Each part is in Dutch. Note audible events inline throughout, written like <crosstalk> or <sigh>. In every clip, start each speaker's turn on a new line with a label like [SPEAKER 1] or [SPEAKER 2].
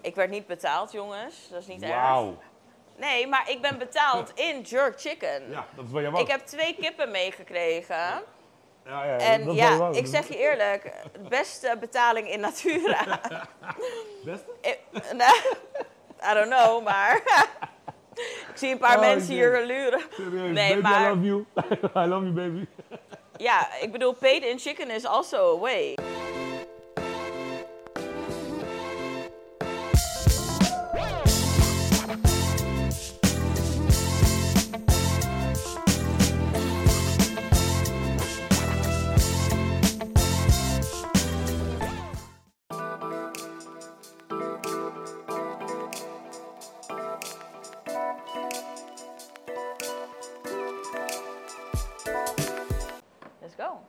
[SPEAKER 1] Ik werd niet betaald, jongens. Dat is niet erg.
[SPEAKER 2] Wauw.
[SPEAKER 1] Nee, maar ik ben
[SPEAKER 2] <laughs>
[SPEAKER 1] betaald in jerk chicken.
[SPEAKER 2] Ja, dat is bij jou ook.
[SPEAKER 1] Ik heb twee kippen meegekregen.
[SPEAKER 2] ja, ja,
[SPEAKER 1] En
[SPEAKER 2] dat is bij jou
[SPEAKER 1] ja,
[SPEAKER 2] ook.
[SPEAKER 1] ik zeg je eerlijk, de beste betaling in
[SPEAKER 2] <laughs>
[SPEAKER 1] Natura.
[SPEAKER 2] Beste?
[SPEAKER 1] Ik- nou, I don't know, maar <laughs> ik zie een paar
[SPEAKER 2] Oh,
[SPEAKER 1] mensen
[SPEAKER 2] jee.
[SPEAKER 1] hier luren.
[SPEAKER 2] Serieus,
[SPEAKER 1] Nee,
[SPEAKER 2] baby, I
[SPEAKER 1] maar-
[SPEAKER 2] love you. <laughs> I love you, baby.
[SPEAKER 1] Ja, ik bedoel, paid in chicken is also a way. Let's go.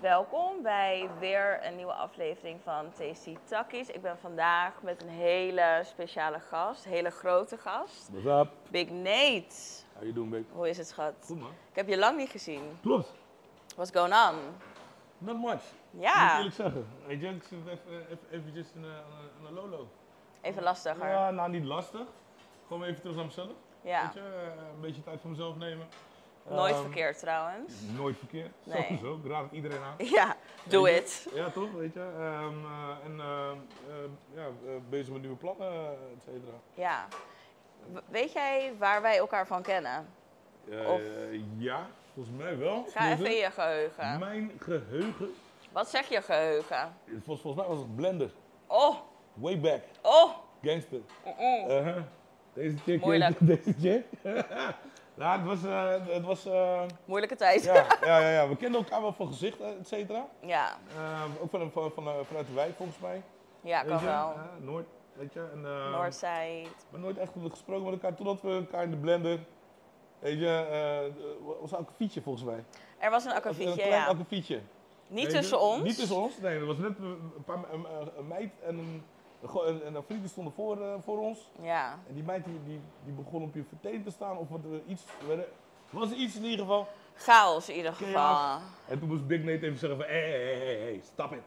[SPEAKER 1] Welkom bij weer een nieuwe aflevering van Tasty Takkies. Ik ben vandaag met een hele speciale gast, hele grote gast.
[SPEAKER 2] What's up?
[SPEAKER 1] Big Nate.
[SPEAKER 2] How you doing, baby?
[SPEAKER 1] Hoe is het, schat?
[SPEAKER 2] Goed, man.
[SPEAKER 1] Ik heb je lang niet gezien.
[SPEAKER 2] Klopt.
[SPEAKER 1] What's going on?
[SPEAKER 2] Not much. Moet ik
[SPEAKER 1] Ja,
[SPEAKER 2] eerlijk zeggen. Weet je, ik zit even, even, eventjes in een, aan een lolo.
[SPEAKER 1] even lastiger.
[SPEAKER 2] Ja, nou niet lastig. Gewoon even terug naar mezelf.
[SPEAKER 1] Ja,
[SPEAKER 2] Weet je, eh, een beetje tijd voor mezelf nemen.
[SPEAKER 1] nooit
[SPEAKER 2] Ehm,
[SPEAKER 1] verkeerd trouwens. <laughs>
[SPEAKER 2] Nooit verkeerd.
[SPEAKER 1] Nee.
[SPEAKER 2] Sowieso. Ik raad het iedereen aan.
[SPEAKER 1] Ja, do
[SPEAKER 2] Weet je?
[SPEAKER 1] it.
[SPEAKER 2] Ja, toch? Weet je. Ehm, eh, en ehm, ehm, ja, eh, bezig met nieuwe plannen, eh, et cetera.
[SPEAKER 1] Ja. W- Weet jij waar wij elkaar van kennen?
[SPEAKER 2] Eh,
[SPEAKER 1] Of-
[SPEAKER 2] Ja, volgens mij wel.
[SPEAKER 1] Ga
[SPEAKER 2] Tenminste,
[SPEAKER 1] even in je geheugen.
[SPEAKER 2] Mijn geheugen.
[SPEAKER 1] Wat zeg je geheugen?
[SPEAKER 2] vol- Volgens mij was het Blender.
[SPEAKER 1] Oh,
[SPEAKER 2] Way back.
[SPEAKER 1] oh,
[SPEAKER 2] Gangster.
[SPEAKER 1] mm, mm.
[SPEAKER 2] Uh-huh. Deze chick. eh,
[SPEAKER 1] Moeilijk.
[SPEAKER 2] <laughs> Deze chick. ja, het was... eh, het was eh,
[SPEAKER 1] moeilijke tijd. <laughs>
[SPEAKER 2] ja, ja, ja, ja, we kenden elkaar wel van gezicht, eh, et cetera.
[SPEAKER 1] Ja,
[SPEAKER 2] Eh, ook van, van, van, eh, vanuit de wijk, volgens mij.
[SPEAKER 1] ja
[SPEAKER 2] Weet
[SPEAKER 1] kan
[SPEAKER 2] je?
[SPEAKER 1] wel.
[SPEAKER 2] Ja, Noord, weet je. En, eh,
[SPEAKER 1] Noordzijde.
[SPEAKER 2] We hebben nooit echt gesproken met elkaar, totdat we elkaar in de blender... Weet je, eh, was een akkefietje volgens mij.
[SPEAKER 1] Er was een
[SPEAKER 2] Was Een
[SPEAKER 1] akkefietje,
[SPEAKER 2] klein
[SPEAKER 1] ja.
[SPEAKER 2] akkefietje.
[SPEAKER 1] Niet
[SPEAKER 2] Weet je?
[SPEAKER 1] tussen ons.
[SPEAKER 2] Niet tussen ons, nee. Er was net een, een paar, een, een- een meid en een, een, een, een vriend die stonden voor, eh, voor ons.
[SPEAKER 1] Ja,
[SPEAKER 2] En die meid die, die, die begon op je verteen te staan of wat, eh, iets. Er was iets in ieder geval.
[SPEAKER 1] chaos in ieder geval.
[SPEAKER 2] Chaos. En toen moest Big Nate even zeggen van, hé, hé, hé, hé, stop it.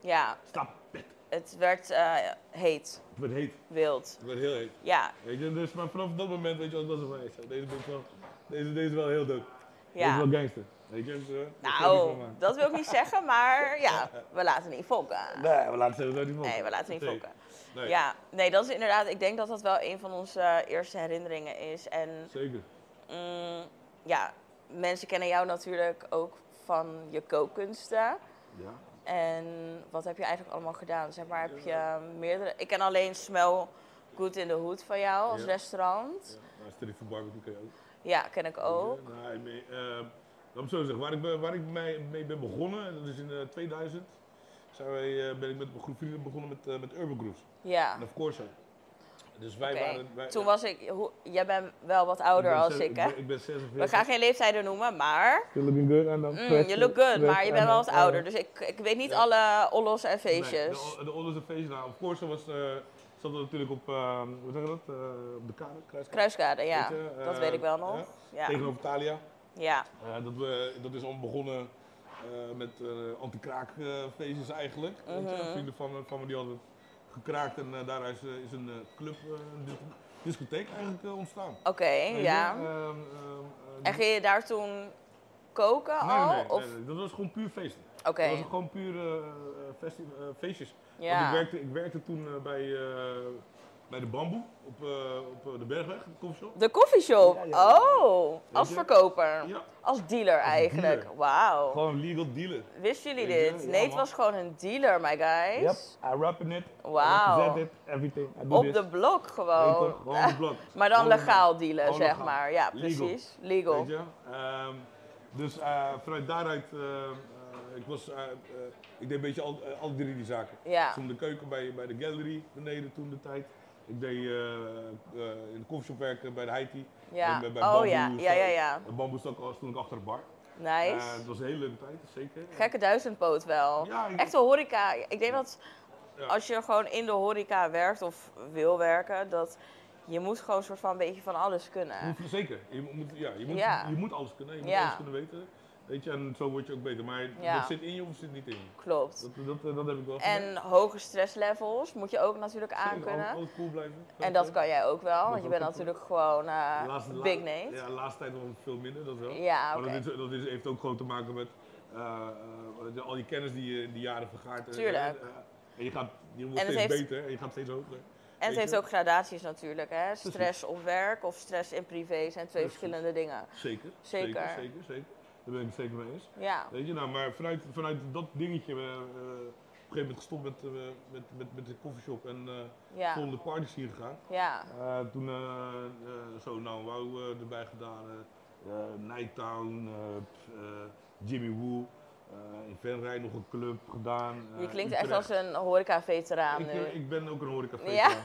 [SPEAKER 1] Ja,
[SPEAKER 2] Stop it.
[SPEAKER 1] het werd eh, heet,
[SPEAKER 2] Het werd heet.
[SPEAKER 1] wild.
[SPEAKER 2] Het werd heel heet.
[SPEAKER 1] Ja,
[SPEAKER 2] Weet je, dus maar vanaf dat moment, weet je, dat was het wel echt. Deze is wel, deze, deze is wel heel dood. Deze
[SPEAKER 1] ja.
[SPEAKER 2] is wel gangster. Weet je, dus, eh, daar ga ik niet
[SPEAKER 1] Nou,
[SPEAKER 2] van maken.
[SPEAKER 1] dat wil ik niet zeggen, maar
[SPEAKER 2] <laughs>
[SPEAKER 1] ja, we laten niet fokken.
[SPEAKER 2] Nee, we laten het daar niet van.
[SPEAKER 1] Nee, we laten niet
[SPEAKER 2] Nee.
[SPEAKER 1] fokken.
[SPEAKER 2] Nee,
[SPEAKER 1] Ja, nee, dat is inderdaad. Ik denk dat dat wel een van onze eh, eerste herinneringen is. En
[SPEAKER 2] Zeker.
[SPEAKER 1] mm, ja, mensen kennen jou natuurlijk ook van je kookkunsten.
[SPEAKER 2] Ja.
[SPEAKER 1] En wat heb je eigenlijk allemaal gedaan? Zeg maar, heb je meerdere. Ik ken alleen Smell Good in the Hood van jou als
[SPEAKER 2] Ja.
[SPEAKER 1] restaurant.
[SPEAKER 2] ja. Nou, Street for Barbecue kan je ook.
[SPEAKER 1] Ja, ken ik ook.
[SPEAKER 2] Weet je, nou, ik ben, eh, laat me zo zeggen, waar ik, ben- waar ik mee, mee ben begonnen, en dat is in eh, 2000, zijn wij, eh, ben ik met een groep vrienden begonnen met, eh, met Urban Grooves.
[SPEAKER 1] Ja.
[SPEAKER 2] En of course. Dus wij
[SPEAKER 1] Ah. Oké.
[SPEAKER 2] waren... Wij,
[SPEAKER 1] Toen was ik. hoe- jij bent wel wat
[SPEAKER 2] Ik
[SPEAKER 1] ouder
[SPEAKER 2] ben
[SPEAKER 1] als
[SPEAKER 2] zes-
[SPEAKER 1] ik, hè?
[SPEAKER 2] ben- Ik ben 46.
[SPEAKER 1] We gaan geen leeftijden noemen, maar.
[SPEAKER 2] You're looking good en dan...
[SPEAKER 1] mm,
[SPEAKER 2] fresh,
[SPEAKER 1] je look good,
[SPEAKER 2] fresh
[SPEAKER 1] maar je
[SPEAKER 2] en
[SPEAKER 1] bent wel wat
[SPEAKER 2] dan,
[SPEAKER 1] ouder.
[SPEAKER 2] eh,
[SPEAKER 1] Dus ik, ik weet niet
[SPEAKER 2] ja.
[SPEAKER 1] alle ollos en
[SPEAKER 2] nee,
[SPEAKER 1] feestjes.
[SPEAKER 2] de- de onderste feestjes, nou, of course was, eh zat natuurlijk op, eh, hoe zeg je dat, eh, op de kade, kruiskade.
[SPEAKER 1] Kruiskade, ja.
[SPEAKER 2] Weet je,
[SPEAKER 1] dat
[SPEAKER 2] eh,
[SPEAKER 1] weet ik wel
[SPEAKER 2] ja.
[SPEAKER 1] nog. Ja. Ja.
[SPEAKER 2] Tegenover Thalia. Eh, dat, we, dat is al begonnen eh, met eh anti-kraakfeestjes eigenlijk. Weet je,
[SPEAKER 1] Mhm.
[SPEAKER 2] Vrienden van, me- van me die hadden gekraakt en eh, daar is, eh, is een eh, club, eh, een dis- discotheek eigenlijk eh, ontstaan.
[SPEAKER 1] Oké,
[SPEAKER 2] Weet je,
[SPEAKER 1] ja.
[SPEAKER 2] ehm, ehm, eh,
[SPEAKER 1] En ging je daar toen koken
[SPEAKER 2] nee, nee,
[SPEAKER 1] al?
[SPEAKER 2] nee,
[SPEAKER 1] of...
[SPEAKER 2] nee, nee, dat was gewoon puur feesten.
[SPEAKER 1] Oké,
[SPEAKER 2] Dat was gewoon puur eh, eh, festi- eh, feestjes. Want ik
[SPEAKER 1] ja.
[SPEAKER 2] werkte, ik werkte toen eh, bij, eh, bij de Bamboe op, eh, op eh, de Bergweg, de koffieshop.
[SPEAKER 1] De koffieshop.
[SPEAKER 2] Ja, ja, ja.
[SPEAKER 1] Oh, als
[SPEAKER 2] je?
[SPEAKER 1] verkoper.
[SPEAKER 2] Ja,
[SPEAKER 1] Als dealer eigenlijk.
[SPEAKER 2] dealer.
[SPEAKER 1] Wauw.
[SPEAKER 2] gewoon legal dealer.
[SPEAKER 1] Wisten jullie
[SPEAKER 2] Weet je?
[SPEAKER 1] dit?
[SPEAKER 2] Ja,
[SPEAKER 1] Nate
[SPEAKER 2] man.
[SPEAKER 1] was gewoon een dealer, my guys.
[SPEAKER 2] I rap in it, I
[SPEAKER 1] Wauw.
[SPEAKER 2] represent it, everything. I do
[SPEAKER 1] Op
[SPEAKER 2] this.
[SPEAKER 1] de blok
[SPEAKER 2] Weet je toch?
[SPEAKER 1] gewoon.
[SPEAKER 2] Gewoon de blok.
[SPEAKER 1] Oh. <laughs> Maar dan
[SPEAKER 2] Gewoon de blok.
[SPEAKER 1] legaal dealen,
[SPEAKER 2] Gewoon
[SPEAKER 1] zeg
[SPEAKER 2] legaal.
[SPEAKER 1] maar. Ja,
[SPEAKER 2] Legal.
[SPEAKER 1] precies. Legal.
[SPEAKER 2] Weet je? Ehm, dus eh, vanuit daaruit, eh, eh, ik, was, eh, eh, ik deed een beetje al, eh, alle drie die zaken.
[SPEAKER 1] Ja,
[SPEAKER 2] Toen de keuken bij, bij de gallery beneden toen de tijd. Ik deed eh, eh, in de koffieshop werken bij de Haiti.
[SPEAKER 1] ja.
[SPEAKER 2] bij- bij
[SPEAKER 1] Oh
[SPEAKER 2] bamboe
[SPEAKER 1] ja,
[SPEAKER 2] is
[SPEAKER 1] ja,
[SPEAKER 2] dat-
[SPEAKER 1] ja, ja.
[SPEAKER 2] De bamboe stak al toen ik achter de bar. Eh, het
[SPEAKER 1] Nice.
[SPEAKER 2] was een hele leuke tijd, zeker.
[SPEAKER 1] Gekke duizendpoot wel.
[SPEAKER 2] Ja, ik-
[SPEAKER 1] Echte horeca. Ik denk dat
[SPEAKER 2] Ja.
[SPEAKER 1] als je gewoon in de horeca werkt of wil werken, dat je moet gewoon een soort van een beetje van alles
[SPEAKER 2] Je
[SPEAKER 1] kunnen.
[SPEAKER 2] moet- zeker. Je moet, ja, je, moet,
[SPEAKER 1] Ja.
[SPEAKER 2] je moet alles kunnen, je moet
[SPEAKER 1] Ja.
[SPEAKER 2] alles kunnen weten. Weet je, en zo word je ook beter. Maar
[SPEAKER 1] Ja.
[SPEAKER 2] dat zit in je of zit niet in je.
[SPEAKER 1] Klopt.
[SPEAKER 2] Dat, dat, dat heb ik wel gemerkt.
[SPEAKER 1] En hoge stresslevels moet je ook natuurlijk
[SPEAKER 2] Zeker,
[SPEAKER 1] aankunnen.
[SPEAKER 2] al- altijd cool blijven.
[SPEAKER 1] En dat kan jij ook wel, want je
[SPEAKER 2] ook
[SPEAKER 1] bent
[SPEAKER 2] een-
[SPEAKER 1] natuurlijk gewoon eh,
[SPEAKER 2] Laatste- la-
[SPEAKER 1] big name.
[SPEAKER 2] Ja, de laatste tijd wel veel minder, dat wel.
[SPEAKER 1] Ja,
[SPEAKER 2] Maar
[SPEAKER 1] oké.
[SPEAKER 2] dat, is, dat is, heeft ook gewoon te maken met eh, eh, de- al die kennis die je in die jaren vergaart. En-
[SPEAKER 1] Tuurlijk.
[SPEAKER 2] En, eh, en je gaat je wordt
[SPEAKER 1] En het
[SPEAKER 2] steeds
[SPEAKER 1] heeft-
[SPEAKER 2] beter en je gaat steeds hoger.
[SPEAKER 1] En het
[SPEAKER 2] Weet
[SPEAKER 1] heeft
[SPEAKER 2] je?
[SPEAKER 1] ook gradaties natuurlijk. Hè? Stress op werk of stress in privé zijn twee
[SPEAKER 2] Precies.
[SPEAKER 1] verschillende dingen.
[SPEAKER 2] Zeker.
[SPEAKER 1] Zeker.
[SPEAKER 2] Zeker, zeker. zeker. Daar ben ik het zeker mee eens.
[SPEAKER 1] Ja,
[SPEAKER 2] Weet je nou, maar vanuit, vanuit dat dingetje, eh, eh, op een gegeven moment gestopt met, eh, met, met, met de coffeeshop en eh
[SPEAKER 1] ja,
[SPEAKER 2] volgende parties hier gegaan.
[SPEAKER 1] ja.
[SPEAKER 2] Eh, toen eh, eh, zo Nou Wow eh, erbij gedaan, eh, eh, Nighttown, eh, pff, eh, Jimmy Woo, eh, in Venray nog een club gedaan. eh,
[SPEAKER 1] Je klinkt echt
[SPEAKER 2] Utrecht.
[SPEAKER 1] als een horeca-veteraan
[SPEAKER 2] ik, eh,
[SPEAKER 1] nu.
[SPEAKER 2] ik ben ook een horeca
[SPEAKER 1] Ja, <laughs>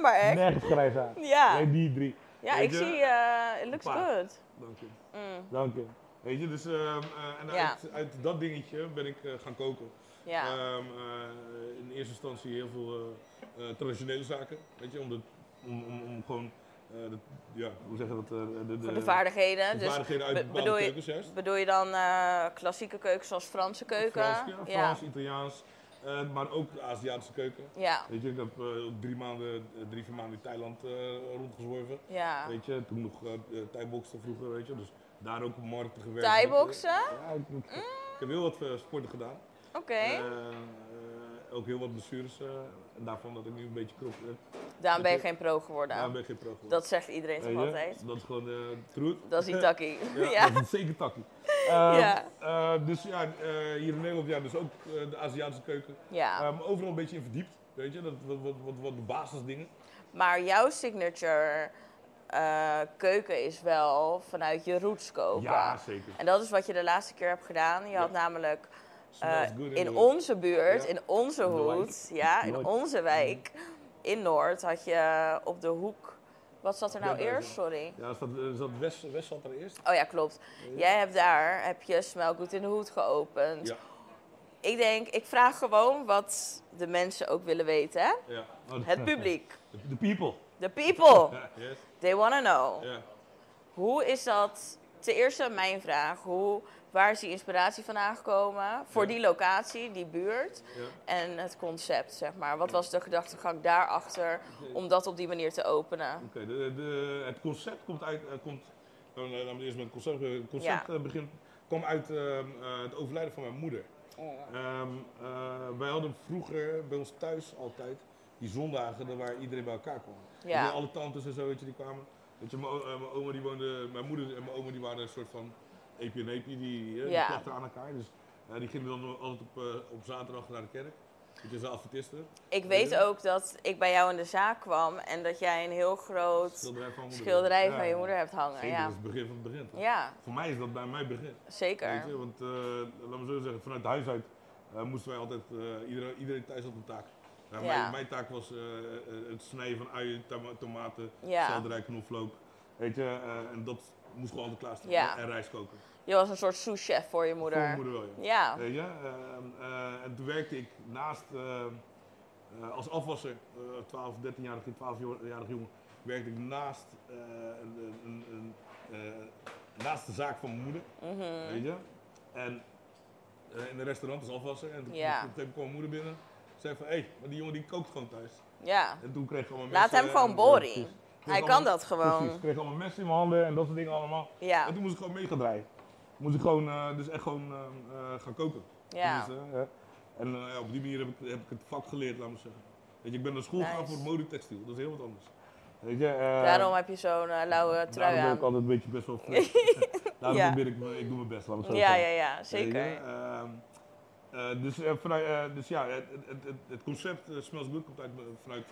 [SPEAKER 1] Maar echt?
[SPEAKER 2] Nergens grijs aan.
[SPEAKER 1] Ja,
[SPEAKER 2] Nee, die drie.
[SPEAKER 1] ja
[SPEAKER 2] weet
[SPEAKER 1] ik
[SPEAKER 2] je,
[SPEAKER 1] zie, eh it looks
[SPEAKER 2] een paar.
[SPEAKER 1] good.
[SPEAKER 2] Dank je.
[SPEAKER 1] Mm,
[SPEAKER 2] Dank je. Weet je, dus ehm, eh, en
[SPEAKER 1] Ja.
[SPEAKER 2] uit, uit dat dingetje ben ik eh, gaan koken.
[SPEAKER 1] ja,
[SPEAKER 2] Ehm, eh, in eerste instantie heel veel eh, eh, traditionele zaken, weet je, om, de, om, om, om gewoon, eh, de, ja, hoe zeggen we dat, eh, de,
[SPEAKER 1] voor de vaardigheden.
[SPEAKER 2] de
[SPEAKER 1] Dus
[SPEAKER 2] vaardigheden uit
[SPEAKER 1] be-
[SPEAKER 2] bepaalde
[SPEAKER 1] bedoel je-
[SPEAKER 2] keukens, juist.
[SPEAKER 1] bedoel je dan eh, klassieke keuken zoals Franse keuken?
[SPEAKER 2] Frans, ja,
[SPEAKER 1] ja.
[SPEAKER 2] Frans, Italiaans, eh, maar ook de Aziatische keuken.
[SPEAKER 1] ja.
[SPEAKER 2] Weet je, ik heb eh, drie, maanden, eh, drie, vier maanden in Thailand eh, rondgezworven.
[SPEAKER 1] ja.
[SPEAKER 2] Weet je, toen nog eh eh, Thai-boksen vroeger, weet je, dus daar ook op markten gewerkt.
[SPEAKER 1] Thai-boksen?
[SPEAKER 2] Ja, ik, ik- ik heb heel wat eh, sporten gedaan.
[SPEAKER 1] Mm. Oké.
[SPEAKER 2] Eh, eh, ook heel wat blessures. eh, en daarvan dat ik nu een beetje krop heb.
[SPEAKER 1] Daarom ben je
[SPEAKER 2] weet
[SPEAKER 1] geen pro
[SPEAKER 2] Daar
[SPEAKER 1] geworden.
[SPEAKER 2] ben ik geen pro geworden.
[SPEAKER 1] Nou, Dat zegt iedereen toch
[SPEAKER 2] Weet je,
[SPEAKER 1] altijd?
[SPEAKER 2] Dat is gewoon eh truth.
[SPEAKER 1] Dat
[SPEAKER 2] <laughs>
[SPEAKER 1] is die takkie.
[SPEAKER 2] Ja,
[SPEAKER 1] <laughs> Ja.
[SPEAKER 2] dat is zeker takkie. Eh,
[SPEAKER 1] Ja.
[SPEAKER 2] eh, dus ja, eh, hier in Nederland ja, dus ook eh, de Aziatische keuken.
[SPEAKER 1] Ja.
[SPEAKER 2] Ehm, overal een beetje in verdiept, weet je. Dat, wat, wat, wat, wat de basisdingen.
[SPEAKER 1] Maar jouw signature eh, keuken is wel vanuit je roots koken.
[SPEAKER 2] Ja, zeker.
[SPEAKER 1] En dat is wat je de laatste keer hebt gedaan. Je had namelijk eh,
[SPEAKER 2] Smells good
[SPEAKER 1] in
[SPEAKER 2] the-
[SPEAKER 1] onze buurt,
[SPEAKER 2] Ja.
[SPEAKER 1] in onze
[SPEAKER 2] In de wijk.
[SPEAKER 1] hoed, ja, in
[SPEAKER 2] Nooit. Mm.
[SPEAKER 1] onze wijk, in Noord, had je op de hoek. Wat zat er nou
[SPEAKER 2] Benthuizen.
[SPEAKER 1] eerst? Sorry.
[SPEAKER 2] Ja, is dat, is dat West, West zat er eerst.
[SPEAKER 1] Oh ja, klopt. Jij hebt daar, heb je Smell Good in de Hoed geopend.
[SPEAKER 2] Ja.
[SPEAKER 1] Ik denk, ik vraag gewoon wat de mensen ook willen weten. Hè?
[SPEAKER 2] ja.
[SPEAKER 1] Het
[SPEAKER 2] <laughs>
[SPEAKER 1] publiek,
[SPEAKER 2] The Oh. people.
[SPEAKER 1] de people,
[SPEAKER 2] Ja, yes.
[SPEAKER 1] they wanna know.
[SPEAKER 2] Ja.
[SPEAKER 1] Hoe is dat? Ten eerste mijn vraag. Hoe, waar is die inspiratie vandaan gekomen? Voor
[SPEAKER 2] Ja.
[SPEAKER 1] die locatie, die buurt
[SPEAKER 2] Ja.
[SPEAKER 1] en het concept, zeg maar. Wat was de gedachtegang daarachter om dat op die manier te openen?
[SPEAKER 2] Oké, de- de- het concept komt uit. eh, komt, nou, nou, laten we eerst met het concept. beginnen. Het concept
[SPEAKER 1] Ja.
[SPEAKER 2] eh, begint, kwam uit ehm, eh, het overlijden van mijn moeder. Ehm, eh, wij hadden vroeger bij ons thuis altijd die zondagen daar waar iedereen bij elkaar kwam.
[SPEAKER 1] Ja.
[SPEAKER 2] Weet je, alle tantes en zo, weet je, die kwamen. Weet je, mijn, o- eh, mijn oma die woonde, mijn moeder en mijn oma die waren een soort van epi en epi, die, eh, die
[SPEAKER 1] Ja.
[SPEAKER 2] plachten aan elkaar. Dus eh, die gingen dan altijd op, eh, op zaterdag naar de kerk. Het is een adventisten.
[SPEAKER 1] Ik weet ook dat ik bij jou in de zaak kwam en dat jij een heel groot
[SPEAKER 2] Schilderij van mijn moeder.
[SPEAKER 1] schilderij
[SPEAKER 2] Ja,
[SPEAKER 1] van je
[SPEAKER 2] ja.
[SPEAKER 1] moeder hebt hangen.
[SPEAKER 2] Zeker,
[SPEAKER 1] Ja,
[SPEAKER 2] dat is het begin van het begin. toch?
[SPEAKER 1] ja
[SPEAKER 2] Voor mij is dat bij mij begin. Weet je,
[SPEAKER 1] zeker.
[SPEAKER 2] want eh laten we zo zeggen, vanuit huis uit eh, moesten wij altijd, eh, iedereen, iedereen thuis had een taak. Nou,
[SPEAKER 1] Ja.
[SPEAKER 2] mijn, mijn taak was eh, eh, het snijden van uien, toma- tomaten,
[SPEAKER 1] Ja.
[SPEAKER 2] selderij, knoflook. Weet je, eh, en dat moest gewoon altijd klaarstaan.
[SPEAKER 1] Ja.
[SPEAKER 2] En rijst koken.
[SPEAKER 1] Je was een soort souschef voor je
[SPEAKER 2] Voor mijn
[SPEAKER 1] moeder.
[SPEAKER 2] moeder wel, ja.
[SPEAKER 1] Ja,
[SPEAKER 2] Weet je, eh, eh, en toen werkte ik naast, eh, eh, als afwasser, eh 12, 13-jarig, 12-jarig jongen, werkte ik naast, eh, een, een, een, eh, naast de zaak van mijn moeder.
[SPEAKER 1] Mhm.
[SPEAKER 2] Weet je? En eh, in een restaurant als afwasser. En toen,
[SPEAKER 1] Ja.
[SPEAKER 2] toen kwam mijn moeder binnen. Zei van, hé, hey, maar die jongen die kookt gewoon thuis.
[SPEAKER 1] ja.
[SPEAKER 2] En toen kreeg ik allemaal
[SPEAKER 1] Laat
[SPEAKER 2] messen
[SPEAKER 1] hem gewoon
[SPEAKER 2] en-
[SPEAKER 1] boren.
[SPEAKER 2] ja, eh, precies. Kreeg
[SPEAKER 1] Hij
[SPEAKER 2] allemaal-
[SPEAKER 1] kan dat
[SPEAKER 2] Precies,
[SPEAKER 1] gewoon.
[SPEAKER 2] ik kreeg allemaal messen in mijn handen en dat soort dingen allemaal.
[SPEAKER 1] <laughs> Ja,
[SPEAKER 2] En toen moest ik gewoon mee gaan draaien. Moest ik gewoon, eh, dus echt gewoon eh, eh, gaan koken.
[SPEAKER 1] ja.
[SPEAKER 2] Dus, eh, ja. En eh, ja, op die manier heb ik, heb ik het vak geleerd, laat maar zeggen. Weet je, ik ben naar school gegaan
[SPEAKER 1] Nice.
[SPEAKER 2] voor modetextiel, dat is heel wat anders. Weet je, eh,
[SPEAKER 1] Daarom heb je zo'n eh, lauwe trui
[SPEAKER 2] daarom ben
[SPEAKER 1] aan.
[SPEAKER 2] ik altijd een beetje best wel
[SPEAKER 1] <laughs>
[SPEAKER 2] fris. <laughs> daarom
[SPEAKER 1] Ja.
[SPEAKER 2] probeer ik, me- ik doe mijn best, laat maar zo
[SPEAKER 1] Ja,
[SPEAKER 2] zeggen.
[SPEAKER 1] ja, ja,
[SPEAKER 2] Weet je,
[SPEAKER 1] zeker.
[SPEAKER 2] ehm, eh, dus, eh, vanuit, eh, dus ja, het, het, het, het concept eh, Smells Good komt uit, vanuit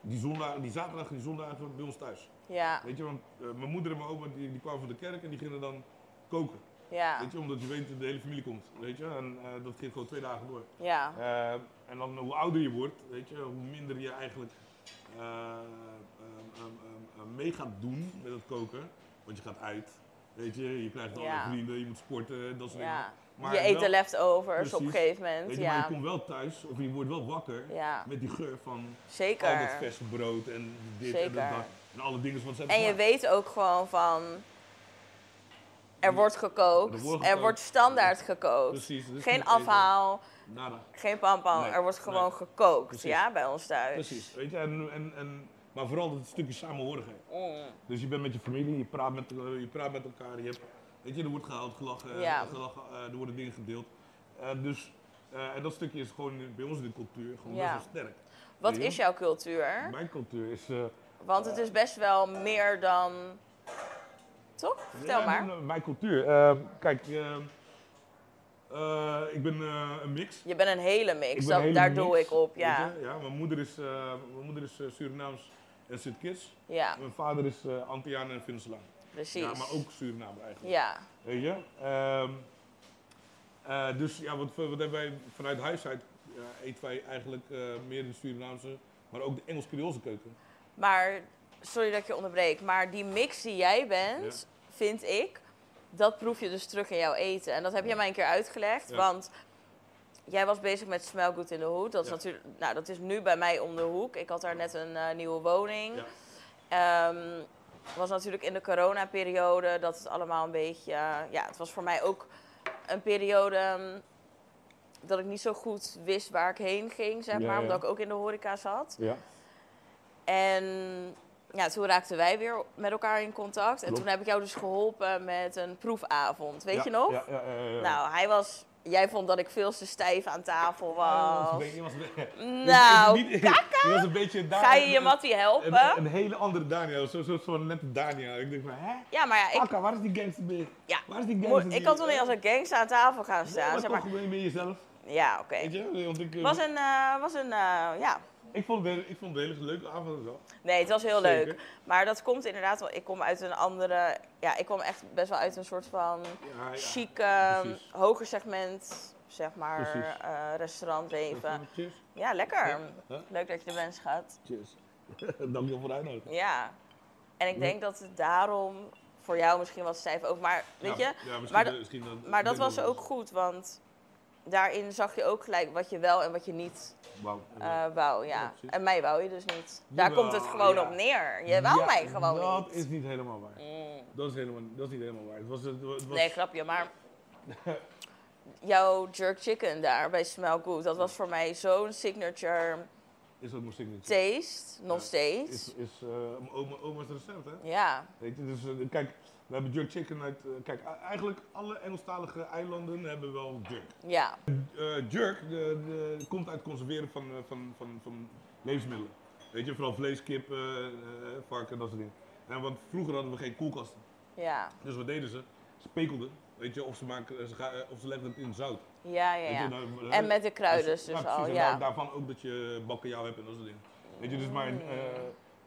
[SPEAKER 2] die, zondag, die zaterdag en die zondagen bij ons thuis.
[SPEAKER 1] Ja,
[SPEAKER 2] Weet je, want eh, mijn moeder en mijn oma die, die kwamen van de kerk en die gingen dan koken.
[SPEAKER 1] ja,
[SPEAKER 2] Weet je, omdat je weet dat de hele familie komt. Weet je, en eh, dat ging gewoon twee dagen door.
[SPEAKER 1] ja,
[SPEAKER 2] Eh, en dan hoe ouder je wordt, weet je, hoe minder je eigenlijk eh, ehm, ehm, ehm, ehm, mee gaat doen met het koken. Want je gaat uit, weet je, je krijgt alle
[SPEAKER 1] Ja.
[SPEAKER 2] vrienden, je moet sporten, dat soort dingen.
[SPEAKER 1] ja.
[SPEAKER 2] Maar
[SPEAKER 1] Je eet de
[SPEAKER 2] wel-
[SPEAKER 1] leftovers op een
[SPEAKER 2] Precies.
[SPEAKER 1] gegeven
[SPEAKER 2] Weet
[SPEAKER 1] moment.
[SPEAKER 2] je, maar je
[SPEAKER 1] Ja,
[SPEAKER 2] komt wel thuis, of je wordt wel wakker,
[SPEAKER 1] ja,
[SPEAKER 2] met die geur van al dat
[SPEAKER 1] zeker.
[SPEAKER 2] verse brood en dit en
[SPEAKER 1] Zeker.
[SPEAKER 2] dat. En alle dingen van ze
[SPEAKER 1] En
[SPEAKER 2] hebben
[SPEAKER 1] je
[SPEAKER 2] gemaakt.
[SPEAKER 1] weet ook gewoon van. Er wordt gekookt.
[SPEAKER 2] Er
[SPEAKER 1] Er
[SPEAKER 2] wordt
[SPEAKER 1] wordt,
[SPEAKER 2] gekookt.
[SPEAKER 1] standaard gekookt.
[SPEAKER 2] Precies, dus
[SPEAKER 1] Geen
[SPEAKER 2] niet eten.
[SPEAKER 1] afhaal, Dus.
[SPEAKER 2] Nada.
[SPEAKER 1] geen pampam.
[SPEAKER 2] Nee,
[SPEAKER 1] er wordt
[SPEAKER 2] nee.
[SPEAKER 1] gewoon gekookt,
[SPEAKER 2] Precies.
[SPEAKER 1] ja, bij ons thuis.
[SPEAKER 2] Precies. Weet je, en, en, en, maar vooral dat stukje samenhorigheid.
[SPEAKER 1] Mm.
[SPEAKER 2] Dus je bent met je familie, je praat met, eh, je praat met elkaar, je hebt, weet je, er wordt gehaald, gelachen,
[SPEAKER 1] Ja.
[SPEAKER 2] eh, gelachen eh, er worden dingen gedeeld. Eh, dus, eh, en dat stukje is gewoon bij ons in de cultuur gewoon
[SPEAKER 1] Ja.
[SPEAKER 2] best wel sterk.
[SPEAKER 1] Wat
[SPEAKER 2] Weet je?
[SPEAKER 1] is jouw cultuur?
[SPEAKER 2] Mijn cultuur is... eh,
[SPEAKER 1] Want het is best wel meer dan. Toch? Vertel
[SPEAKER 2] ja, nou-
[SPEAKER 1] maar.
[SPEAKER 2] mijn- Mijn cultuur. Eh, kijk, eh, eh, ik ben eh, een mix.
[SPEAKER 1] Je bent een hele mix,
[SPEAKER 2] Ik ben
[SPEAKER 1] dat-
[SPEAKER 2] een hele
[SPEAKER 1] daar
[SPEAKER 2] mix,
[SPEAKER 1] doe ik op, ja.
[SPEAKER 2] Weet je? ja mijn moeder is, eh, mijn moeder is eh, Surinaams en Sint-Kitts.
[SPEAKER 1] Ja,
[SPEAKER 2] Mijn vader is eh Antilliaan en Vinselaan.
[SPEAKER 1] precies.
[SPEAKER 2] Ja, maar ook Suriname eigenlijk.
[SPEAKER 1] Ja,
[SPEAKER 2] Weet je? Ehm, eh, dus ja, wat, wat hebben wij vanuit huis uit? Ja, eten wij eigenlijk eh, meer de Surinaamse, maar ook de Engels-Creoolse keuken.
[SPEAKER 1] maar sorry dat ik je onderbreek, maar die mix die jij bent, vind ik, dat proef je dus terug in jouw eten. En dat heb jij mij een keer uitgelegd,
[SPEAKER 2] Ja.
[SPEAKER 1] want jij was bezig met Smell Good in de Hoed. Dat is
[SPEAKER 2] Ja.
[SPEAKER 1] natuurlijk, nou dat is nu bij mij om de hoek. Ik had daar net een eh, nieuwe woning.
[SPEAKER 2] Ja.
[SPEAKER 1] Ehm, was natuurlijk in de coronaperiode dat het allemaal een beetje. eh, Ja, het was voor mij ook een periode ehm, dat ik niet zo goed wist waar ik heen ging, zeg
[SPEAKER 2] Ja,
[SPEAKER 1] maar,
[SPEAKER 2] ja.
[SPEAKER 1] omdat ik ook in de horeca zat.
[SPEAKER 2] Ja.
[SPEAKER 1] En ja, toen raakten wij weer met elkaar in contact. En
[SPEAKER 2] Klopt.
[SPEAKER 1] toen heb ik jou dus geholpen met een proefavond, weet je nog?
[SPEAKER 2] Ja, ja, ja, ja, ja.
[SPEAKER 1] Nou, hij was. Jij vond dat ik veel te stijf aan
[SPEAKER 2] Oh,
[SPEAKER 1] tafel was.
[SPEAKER 2] Je was een beetje- je was een beetje-
[SPEAKER 1] Nou, <laughs>
[SPEAKER 2] je <laughs> was een beetje Daniel-
[SPEAKER 1] ga je je mattie
[SPEAKER 2] een,
[SPEAKER 1] helpen?
[SPEAKER 2] een, een hele andere Daniel, zo'n soort van nette Daniel. Ik denk van, hè?
[SPEAKER 1] Ja, maar ja, ik,
[SPEAKER 2] Akka, waar is die gangster bij?
[SPEAKER 1] Ja.
[SPEAKER 2] Waar is die
[SPEAKER 1] Mo-
[SPEAKER 2] gangster Eh,
[SPEAKER 1] Ik kan toch niet als een gangster aan tafel gaan
[SPEAKER 2] Ja,
[SPEAKER 1] staan,
[SPEAKER 2] maar
[SPEAKER 1] zeg
[SPEAKER 2] toch
[SPEAKER 1] maar.
[SPEAKER 2] gewoon met jezelf,
[SPEAKER 1] Ja, oké.
[SPEAKER 2] weet je? Want ik, eh,
[SPEAKER 1] Was een, eh, was een, eh, ja.
[SPEAKER 2] ik, vond het, ik vond het een hele leuke avond wel.
[SPEAKER 1] Nee, het was heel
[SPEAKER 2] Zeker.
[SPEAKER 1] leuk. Maar dat komt inderdaad wel, ik kom uit een andere, ja, ik kom echt best wel uit een soort van
[SPEAKER 2] Ja, ja.
[SPEAKER 1] chique,
[SPEAKER 2] precies.
[SPEAKER 1] ehm, hoger segment, zeg maar,
[SPEAKER 2] Precies.
[SPEAKER 1] eh,
[SPEAKER 2] <laughs>
[SPEAKER 1] restaurantleven.
[SPEAKER 2] Cheers.
[SPEAKER 1] Ja, lekker.
[SPEAKER 2] Huh?
[SPEAKER 1] Leuk dat je er bent, schat.
[SPEAKER 2] Cheers. <laughs> Dankjewel voor de uitnodiging.
[SPEAKER 1] Ja. En ik denk dat het daarom voor jou misschien wat stijf ook, maar weet
[SPEAKER 2] Ja,
[SPEAKER 1] je,
[SPEAKER 2] ja, misschien,
[SPEAKER 1] maar dat-
[SPEAKER 2] misschien dat,
[SPEAKER 1] maar dat
[SPEAKER 2] denk
[SPEAKER 1] was
[SPEAKER 2] ik wel.
[SPEAKER 1] ook goed, want daarin zag je ook gelijk wat je wel en wat je niet
[SPEAKER 2] Wauw.
[SPEAKER 1] eh wou, ja.
[SPEAKER 2] Ja, precies.
[SPEAKER 1] en mij wou je dus niet. Daar
[SPEAKER 2] Jawel,
[SPEAKER 1] komt het gewoon
[SPEAKER 2] ja.
[SPEAKER 1] op neer. Je wou
[SPEAKER 2] Ja,
[SPEAKER 1] mij gewoon
[SPEAKER 2] dat
[SPEAKER 1] niet.
[SPEAKER 2] is niet helemaal waar.
[SPEAKER 1] Mm.
[SPEAKER 2] Dat is, helemaal, dat is niet helemaal waar. Het was, het was,
[SPEAKER 1] Nee, grapje, maar... <laughs> Jouw jerk chicken daar bij Smell Good, dat was voor mij zo'n signature
[SPEAKER 2] is ook mijn signature.
[SPEAKER 1] taste, nog
[SPEAKER 2] Ja,
[SPEAKER 1] steeds.
[SPEAKER 2] Is, is eh, mijn oma, oma's recept, hè?
[SPEAKER 1] Ja,
[SPEAKER 2] Weet je, dus eh, kijk, we hebben jerk chicken uit... eh, kijk, a- eigenlijk alle Engelstalige eilanden hebben wel jerk.
[SPEAKER 1] ja,
[SPEAKER 2] Eh, jerk de, de- komt uit conserveren van, eh, van, van, van levensmiddelen. Weet je, vooral vlees, kip, eh, eh, varken, dat soort dingen. En want vroeger hadden we geen koelkasten.
[SPEAKER 1] ja,
[SPEAKER 2] Dus wat deden ze? Ze pekelden, weet je, of ze, maken, eh, ze ga- of ze legden het in zout.
[SPEAKER 1] ja, ja.
[SPEAKER 2] Weet je,
[SPEAKER 1] ja.
[SPEAKER 2] nou,
[SPEAKER 1] En met de kruiden dus
[SPEAKER 2] ja, precies.
[SPEAKER 1] al,
[SPEAKER 2] En
[SPEAKER 1] ja.
[SPEAKER 2] daar- daarvan ook dat je bakkenjaal hebt en dat soort dingen. Weet je, dus maar,
[SPEAKER 1] Mm.
[SPEAKER 2] eh,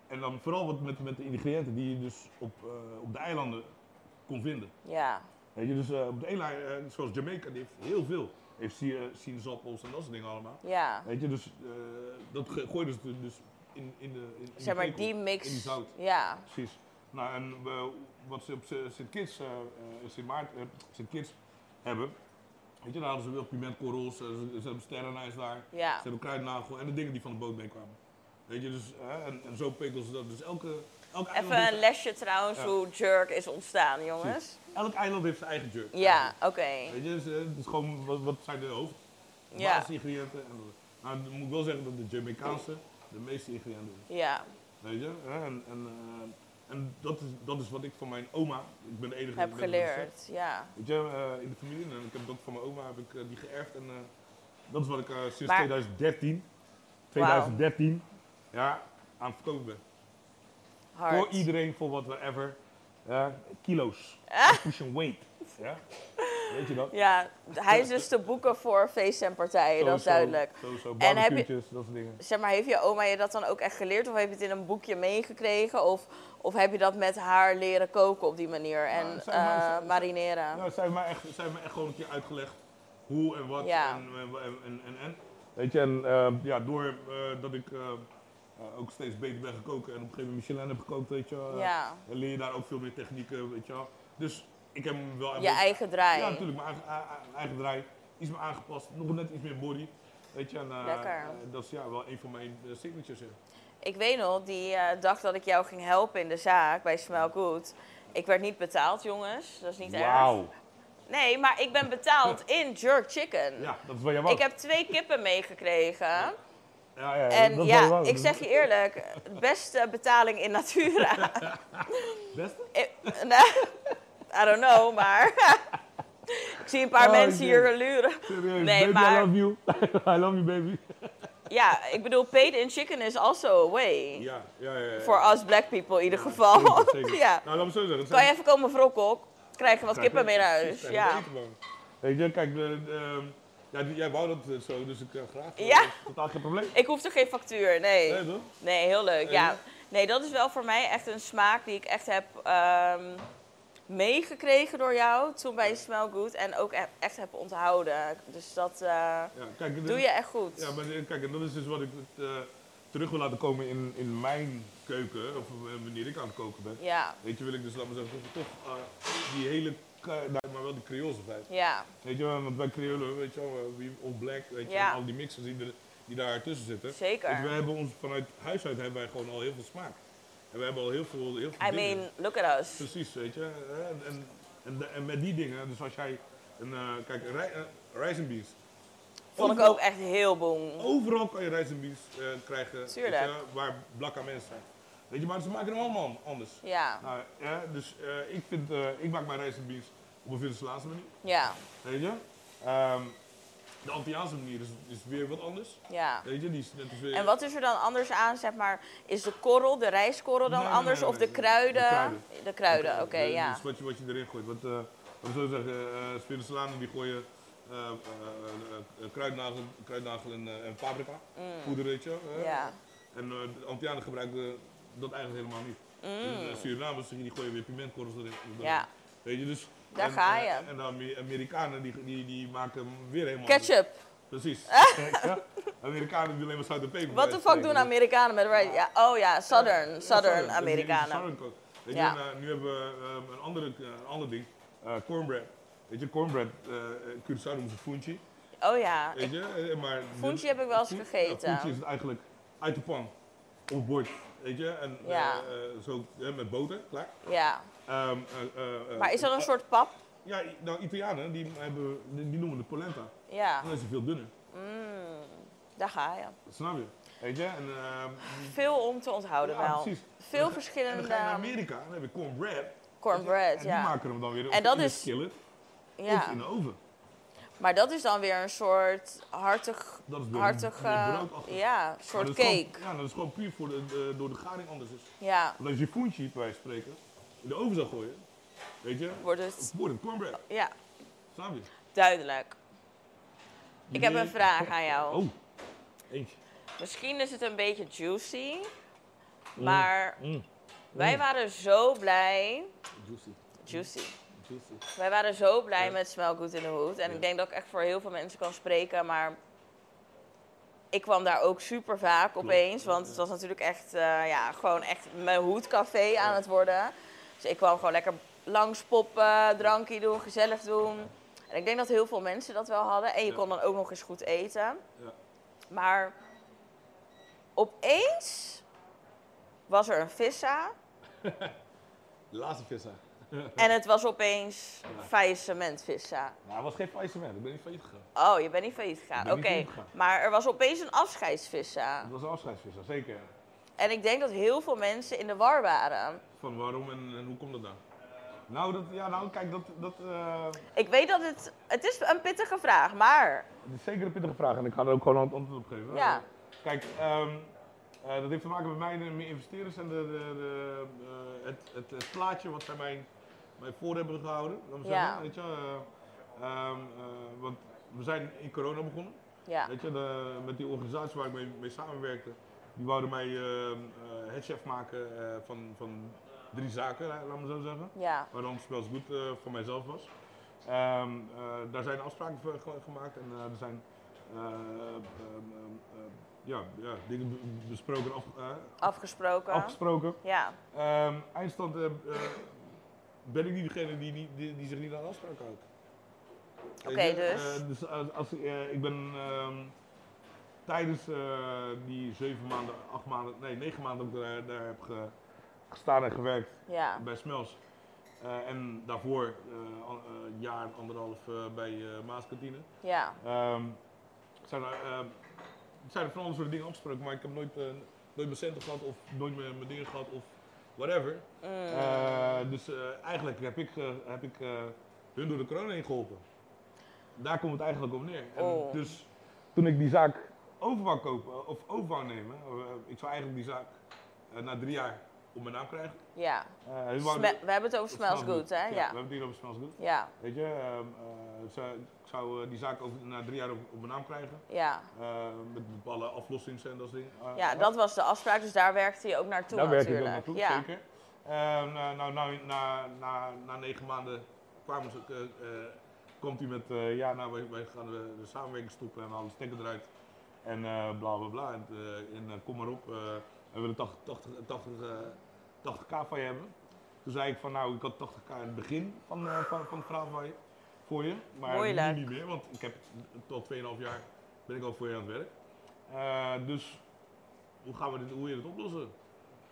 [SPEAKER 2] en dan vooral wat met, met de ingrediënten die je dus op, eh, op de eilanden kon vinden.
[SPEAKER 1] Ja,
[SPEAKER 2] Weet je, dus eh, op de eilanden, zoals Jamaica, die heeft heel veel. Heeft si- eh, sinaasappels en dat soort dingen allemaal.
[SPEAKER 1] ja.
[SPEAKER 2] Weet je, dus eh, dat ge- gooiden ze dus in, in de in, in de
[SPEAKER 1] Zeg maar
[SPEAKER 2] pekel,
[SPEAKER 1] die mix.
[SPEAKER 2] In die zout.
[SPEAKER 1] Ja,
[SPEAKER 2] Precies. Nou, en eh, wat ze op Z- Sint Kitts, eh, eh, Sint Maarten, eh, Sint Kitts hebben, weet je, daar hadden ze wel pimentkorrels, eh, ze, ze hebben sterrenijs daar, ze
[SPEAKER 1] ja.
[SPEAKER 2] hebben kruidnagel en de dingen die van de boot meekwamen. Weet je, dus, eh, en, en zo pekelden ze dat. Dus elke, elk, eiland
[SPEAKER 1] Even een
[SPEAKER 2] heeft,
[SPEAKER 1] lesje trouwens
[SPEAKER 2] Ja.
[SPEAKER 1] hoe jerk is ontstaan, jongens.
[SPEAKER 2] elk eiland heeft zijn eigen jerk.
[SPEAKER 1] Ja, oké.
[SPEAKER 2] Weet je, dus, eh, het is gewoon wat, wat zijn de hoofd,
[SPEAKER 1] Ja.
[SPEAKER 2] basisingrediënten. En, nou, dan moet ik wel zeggen dat de Jamaicaanse de meeste ingrediënten hebben.
[SPEAKER 1] Ja,
[SPEAKER 2] Weet je, hè, en, en, eh, en dat, is, dat is wat ik van mijn oma, ik ben de enige
[SPEAKER 1] heb
[SPEAKER 2] met het recept.
[SPEAKER 1] geleerd, ja.
[SPEAKER 2] Weet je, eh, in de familie, en ik heb het ook van mijn oma, heb ik eh, die geërfd. En eh, dat is wat ik eh, sinds
[SPEAKER 1] Maar-
[SPEAKER 2] 2013, 2013, ja, aan het verkopen ben. Voor
[SPEAKER 1] Hard.
[SPEAKER 2] iedereen, voor wat, whatever. Ja, kilo's. Push and weight. Ja? Weet je dat?
[SPEAKER 1] Ah. Ja, hij is dus te boeken voor feesten en partijen, dat is
[SPEAKER 2] Sowieso,
[SPEAKER 1] duidelijk.
[SPEAKER 2] Sowieso,
[SPEAKER 1] En heb je-
[SPEAKER 2] barbecue'tjes, dat soort dingen.
[SPEAKER 1] Zeg maar, heeft je oma je dat dan ook echt geleerd? Of heb je het in een boekje meegekregen? Of, of heb je dat met haar leren koken op die manier en
[SPEAKER 2] zeg maar,
[SPEAKER 1] eh,
[SPEAKER 2] zeg-
[SPEAKER 1] marineren?
[SPEAKER 2] Nou, zij heeft mij echt, zij heeft mij echt gewoon een keer uitgelegd hoe en wat
[SPEAKER 1] Ja.
[SPEAKER 2] en, en, en, en, en, en. Weet je, en eh, ja, door eh, dat ik eh, eh, ook steeds beter ben gekookt en op een gegeven moment Michelin heb gekookt, weet je, eh,
[SPEAKER 1] ja,
[SPEAKER 2] dan leer je daar ook veel meer technieken, weet je wel. Dus ik heb hem wel...
[SPEAKER 1] je eigen draai.
[SPEAKER 2] Ja, natuurlijk, mijn eigen, a- a- eigen draai. Iets meer aangepast, nog net iets meer body. Weet je, en eh,
[SPEAKER 1] Lekker.
[SPEAKER 2] eh, dat is ja, wel een van mijn eh, signatures. hè.
[SPEAKER 1] Ik weet nog, die eh, dag dat ik jou ging helpen in de zaak bij Smell Good. Ik werd niet betaald, jongens. Dat is niet erg.
[SPEAKER 3] Wauw.
[SPEAKER 1] Nee, maar ik ben betaald in jerk chicken.
[SPEAKER 2] Ja, dat is wat jij wou.
[SPEAKER 1] Ik heb twee kippen meegekregen.
[SPEAKER 2] ja, ja,
[SPEAKER 1] En
[SPEAKER 2] Oh, dat is wat je
[SPEAKER 1] ja,
[SPEAKER 2] wou.
[SPEAKER 1] ik zeg je eerlijk, het beste betaling in natura.
[SPEAKER 2] <laughs> Beste?
[SPEAKER 1] Ik- nou, I don't know, maar <laughs> ik zie een paar
[SPEAKER 2] Oh,
[SPEAKER 1] mensen
[SPEAKER 2] ik
[SPEAKER 1] hier
[SPEAKER 2] denk-
[SPEAKER 1] luren.
[SPEAKER 2] Serieus,
[SPEAKER 1] Nee,
[SPEAKER 2] baby, I
[SPEAKER 1] maar-
[SPEAKER 2] love you. <laughs> I love you, baby.
[SPEAKER 1] Ja, ik bedoel, paid in chicken is also a way.
[SPEAKER 2] Ja, ja, ja.
[SPEAKER 1] Voor us black people in ieder
[SPEAKER 2] Ja,
[SPEAKER 1] geval.
[SPEAKER 2] zeker.
[SPEAKER 1] <laughs> ja.
[SPEAKER 2] Nou, laat me zo zeggen.
[SPEAKER 1] Kan je even komen wrokken? Krijg je wat
[SPEAKER 2] Krijg je-
[SPEAKER 1] kippen mee naar huis?
[SPEAKER 2] krijg je
[SPEAKER 1] Ja.
[SPEAKER 2] eten, man. Weet je, kijk, eh, ehm, ja, die- jij wou dat eh, zo, dus ik eh, graag. eh,
[SPEAKER 1] Ja.
[SPEAKER 2] dat is Totaal geen probleem.
[SPEAKER 1] Ik hoefde geen factuur, nee.
[SPEAKER 2] Nee, toch?
[SPEAKER 1] Nee, heel leuk. Ja.
[SPEAKER 2] En?
[SPEAKER 1] Nee, dat is wel voor mij echt een smaak die ik echt heb ehm, meegekregen door jou toen bij Smell Good en ook e- echt heb onthouden. Dus dat eh,
[SPEAKER 2] Ja, kijk, dit-
[SPEAKER 1] doe je echt goed.
[SPEAKER 2] Ja, maar eh, kijk, en dat is dus wat ik eh, terug wil laten komen in, in mijn keuken, of eh, wanneer ik aan het koken ben.
[SPEAKER 1] ja,
[SPEAKER 2] Weet je, wil ik dus, laten we zeggen, toch, toch, eh, die hele, ka- nou, maar wel die Creoolse vibe.
[SPEAKER 1] ja,
[SPEAKER 2] Weet je wel, want bij Creolen, weet je wel, eh, wie- all black, weet je
[SPEAKER 1] Ja.
[SPEAKER 2] wel, al die mixers die, er- die daar tussen zitten. Dus we
[SPEAKER 1] zeker.
[SPEAKER 2] hebben ons, vanuit huis uit hebben wij gewoon al heel veel smaak. En we hebben al heel veel, heel veel
[SPEAKER 1] I
[SPEAKER 2] dingen.
[SPEAKER 1] mean, look at us.
[SPEAKER 2] Precies, weet je. hè, En, en, en, de- en met die dingen, dus als jij, een, eh, kijk, een rij- eh, rijst en beans.
[SPEAKER 1] Vond ik
[SPEAKER 2] Overal-
[SPEAKER 1] ook echt heel boem.
[SPEAKER 2] Overal kan je rijst en beans eh, krijgen weet
[SPEAKER 1] Tuurlijk.
[SPEAKER 2] je, waar blakke mensen zijn. Weet je, maar ze maken hem allemaal anders.
[SPEAKER 1] Ja,
[SPEAKER 2] Nou, ja, dus eh, ik, vind, eh, ik maak mijn rijst en beans op een Venezolaanse manier,
[SPEAKER 1] ja,
[SPEAKER 2] weet je. Ehm, de Antilliaanse manier is, is weer wat anders,
[SPEAKER 1] ja.
[SPEAKER 2] weet je. Die is, dat is weer,
[SPEAKER 1] En wat is er dan anders aan, zeg maar? Is de korrel, de rijstkorrel dan
[SPEAKER 2] Nee, nee,
[SPEAKER 1] anders?
[SPEAKER 2] nee,
[SPEAKER 1] Of de
[SPEAKER 2] nee, nee.
[SPEAKER 1] kruiden?
[SPEAKER 2] De kruiden.
[SPEAKER 1] De kruiden, oké,
[SPEAKER 2] eh,
[SPEAKER 1] ja.
[SPEAKER 2] Dus wat je, wat je erin gooit. Want, eh wat we zo zeggen, eh Venezolanen die gooien eh eh, eh, eh, kruidnagel, kruidnagel en, eh, en paprika, poeder, weet je. eh.
[SPEAKER 1] Mm. Ja,
[SPEAKER 2] En eh, de Antillianen gebruiken dat eigenlijk helemaal niet. En, eh, Surinamers die gooien weer pimentkorrels erin.
[SPEAKER 1] Mm. ja.
[SPEAKER 2] Weet je, dus...
[SPEAKER 1] Daar
[SPEAKER 2] en,
[SPEAKER 1] ga
[SPEAKER 2] eh,
[SPEAKER 1] je.
[SPEAKER 2] En de Amer- Amerikanen die, die, die maken hem weer helemaal...
[SPEAKER 1] Ketchup. <laughs>
[SPEAKER 2] Precies. ja. Amerikanen die alleen maar zout en peper.
[SPEAKER 1] Wat de fuck doen Amerikanen met rice? Ja, oh ja, Southern, Southern Amerikanen.
[SPEAKER 2] Southern cook. Weet
[SPEAKER 1] Ja.
[SPEAKER 2] je, en, eh, nu hebben we ehm, een, andere, een ander ding. eh, cornbread. Weet je, cornbread, eh Curaçao noemen ze funchi.
[SPEAKER 1] Oh ja,
[SPEAKER 2] Weet je, eh, maar... dit-
[SPEAKER 1] Funchi heb ik wel eens
[SPEAKER 2] Fun- ja,
[SPEAKER 1] gegeten.
[SPEAKER 2] Funchi is eigenlijk uit de pan, op het bord. Weet je, en eh,
[SPEAKER 1] Ja.
[SPEAKER 2] eh, zo eh, met boter, klaar.
[SPEAKER 1] ja.
[SPEAKER 2] Ehm, eh, eh, eh,
[SPEAKER 1] Maar is dat een
[SPEAKER 2] eh,
[SPEAKER 1] soort pap?
[SPEAKER 2] Ja, nou, Italianen, die, hebben, die, die noemen de
[SPEAKER 1] Ah.
[SPEAKER 2] polenta.
[SPEAKER 1] Ja.
[SPEAKER 2] Dan is ze veel dunner.
[SPEAKER 1] Mm, daar ga je.
[SPEAKER 2] Dat snap je. Weet je, en... ehm,
[SPEAKER 1] Veel om te onthouden
[SPEAKER 2] ja,
[SPEAKER 1] wel.
[SPEAKER 2] precies.
[SPEAKER 1] Veel
[SPEAKER 2] En dan ga je naar
[SPEAKER 1] verschillende
[SPEAKER 2] Amerika, dus dan heb je cornbread.
[SPEAKER 1] cornbread,
[SPEAKER 2] En die
[SPEAKER 1] ja.
[SPEAKER 2] maken hem dan weer
[SPEAKER 1] En dat
[SPEAKER 2] in de
[SPEAKER 1] is-
[SPEAKER 2] skillet of
[SPEAKER 1] ja.
[SPEAKER 2] in de oven.
[SPEAKER 1] Maar dat is dan weer een soort hartig,
[SPEAKER 2] Dat is weer
[SPEAKER 1] hartig,
[SPEAKER 2] meer
[SPEAKER 1] eh,
[SPEAKER 2] broodachtig.
[SPEAKER 1] ja,
[SPEAKER 2] Maar
[SPEAKER 1] soort
[SPEAKER 2] dat is gewoon-
[SPEAKER 1] cake.
[SPEAKER 2] ja, dat is gewoon puur voor de, de- door de garing anders is.
[SPEAKER 1] Ja,
[SPEAKER 2] Want als je koentje, bij wijze van spreken, in de oven zou gooien, weet je,
[SPEAKER 1] wordt het,
[SPEAKER 2] wordt het cornbread.
[SPEAKER 1] ja,
[SPEAKER 2] Snap je?
[SPEAKER 1] duidelijk. Ik heb een
[SPEAKER 2] Nee.
[SPEAKER 1] vraag aan jou.
[SPEAKER 2] Oh, eentje.
[SPEAKER 1] Misschien is het een beetje juicy, maar
[SPEAKER 2] Mm,
[SPEAKER 1] wij waren zo blij.
[SPEAKER 2] juicy,
[SPEAKER 1] Juicy.
[SPEAKER 2] juicy.
[SPEAKER 1] Wij waren zo blij
[SPEAKER 2] Ja.
[SPEAKER 1] met Smell Good in the Hood. En
[SPEAKER 2] Ja.
[SPEAKER 1] ik denk dat ik echt voor heel veel mensen kan spreken. Maar ik kwam daar ook super vaak opeens.
[SPEAKER 2] ja,
[SPEAKER 1] Want
[SPEAKER 2] ja.
[SPEAKER 1] het was natuurlijk echt, eh, ja, gewoon echt mijn hoedcafé aan het worden. Dus ik kwam gewoon lekker langs poppen, drankje doen, gezellig doen. En ik denk dat heel veel mensen dat wel hadden. En je
[SPEAKER 2] Ja.
[SPEAKER 1] kon dan ook nog eens goed eten.
[SPEAKER 2] Ja.
[SPEAKER 1] Maar opeens was er een
[SPEAKER 2] <laughs>
[SPEAKER 1] vissa.
[SPEAKER 2] De laatste vissa.
[SPEAKER 1] En het was opeens
[SPEAKER 2] Ja.
[SPEAKER 1] faillissementvissa.
[SPEAKER 2] Nou, het was geen faillissement, ik ben niet failliet gegaan.
[SPEAKER 1] Oh, je bent niet failliet gegaan.
[SPEAKER 2] Ik ben
[SPEAKER 1] Oké,
[SPEAKER 2] niet failliet gegaan.
[SPEAKER 1] maar er was opeens een afscheidsvissa.
[SPEAKER 2] Het was een afscheidsvissa, zeker.
[SPEAKER 1] En ik denk dat heel veel mensen in de war waren.
[SPEAKER 2] Van waarom en, en hoe komt dat nou? Nou, dat, ja, nou kijk, dat, dat, eh,
[SPEAKER 1] Ik weet dat het... Het is een pittige vraag, maar...
[SPEAKER 2] Het is zeker een pittige vraag en ik ga er ook gewoon een antwoord op geven.
[SPEAKER 1] Ja.
[SPEAKER 2] Kijk, ehm, eh, dat heeft te maken met mijn, eh, mijn investeerders en de, de, de, eh, het, het, het plaatje wat zij mij, mij voor hebben gehouden. Laat maar
[SPEAKER 1] Ja.
[SPEAKER 2] zeggen, weet je, eh, ehm, eh, want we zijn in corona begonnen.
[SPEAKER 1] Ja,
[SPEAKER 2] Weet je, de- met die organisatie waar ik mee, mee samenwerkte, die wouden mij ehm, eh, het chef maken eh, van, van drie zaken, eh, laat maar zo zeggen
[SPEAKER 1] ja,
[SPEAKER 2] waar dan wel eens goed eh, voor mijzelf was. Ehm, eh, daar zijn afspraken voor ge- gemaakt en eh, er zijn eh, ehm, ehm, ehm, ja, ja, dingen be- besproken, af, eh,
[SPEAKER 1] afgesproken.
[SPEAKER 2] afgesproken.
[SPEAKER 1] ja,
[SPEAKER 2] Ehm, eindstand eh, eh, ben ik niet degene die, niet- die, die zich niet aan de afspraak houdt.
[SPEAKER 1] Oké,
[SPEAKER 2] Weet je,
[SPEAKER 1] dus?
[SPEAKER 2] eh, dus als, als, eh, ik ben ehm, tijdens eh, die zeven maanden, acht maanden, nee negen maanden dat ik daar, daar heb ge- gestaan en gewerkt
[SPEAKER 1] ja,
[SPEAKER 2] bij Smels. Eh, en daarvoor eh, an- eh, een jaar, anderhalf eh, bij eh, Maaskantine.
[SPEAKER 1] Ja.
[SPEAKER 2] Ehm, zijn er, ehm, zijn er van alle soort dingen afgesproken, maar ik heb nooit, eh, nooit mijn centen gehad of nooit mijn, mijn dingen gehad of whatever.
[SPEAKER 1] Mm.
[SPEAKER 2] Eh, dus eh, eigenlijk heb ik, eh, heb ik eh, hun door de corona heen geholpen. Daar komt het eigenlijk op neer. En
[SPEAKER 1] Oh.
[SPEAKER 2] Dus toen ik die zaak over wou kopen, eh, of over wou nemen, eh, ik zou eigenlijk die zaak eh, na drie jaar op mijn naam krijgen.
[SPEAKER 1] ja.
[SPEAKER 2] Eh, hun
[SPEAKER 1] Sme-
[SPEAKER 2] wouden-
[SPEAKER 1] we hebben het over Smells Good, hè?
[SPEAKER 2] We
[SPEAKER 1] Ja.
[SPEAKER 2] hebben het hier over Smells Good.
[SPEAKER 1] Ja.
[SPEAKER 2] Weet je, ehm, eh, zou- ik zou eh, die zaak over, na drie jaar op, op mijn naam krijgen.
[SPEAKER 1] Ja.
[SPEAKER 2] Eh, met bepaalde aflossings en dat soort dingen. Eh,
[SPEAKER 1] Ja, dat was de afspraak, dus daar werkte je ook naartoe
[SPEAKER 2] daar werk ik ook
[SPEAKER 1] natuurlijk.
[SPEAKER 2] naartoe,
[SPEAKER 1] ja.
[SPEAKER 2] zeker. Ehm, nou, nou, nou, na, na, na negen maanden kwamen ze, eh, eh, komt hij met, eh, ja, nou, wij, wij gaan de, de samenwerking stoppen en we halen de stekker eruit. En eh, bla bla bla. En, eh, en eh, kom maar op, eh, we willen 80, 80, 80, eh, 80k van je hebben. Toen zei ik van, nou, ik had 80k in het begin van, eh, van, van het verhaal van je, voor je. Maar
[SPEAKER 1] Moeilijk.
[SPEAKER 2] nu niet meer, want ik heb tot 2,5 jaar ben ik al voor je aan het werk. Eh, dus hoe gaan we dit, hoe wil je dit oplossen?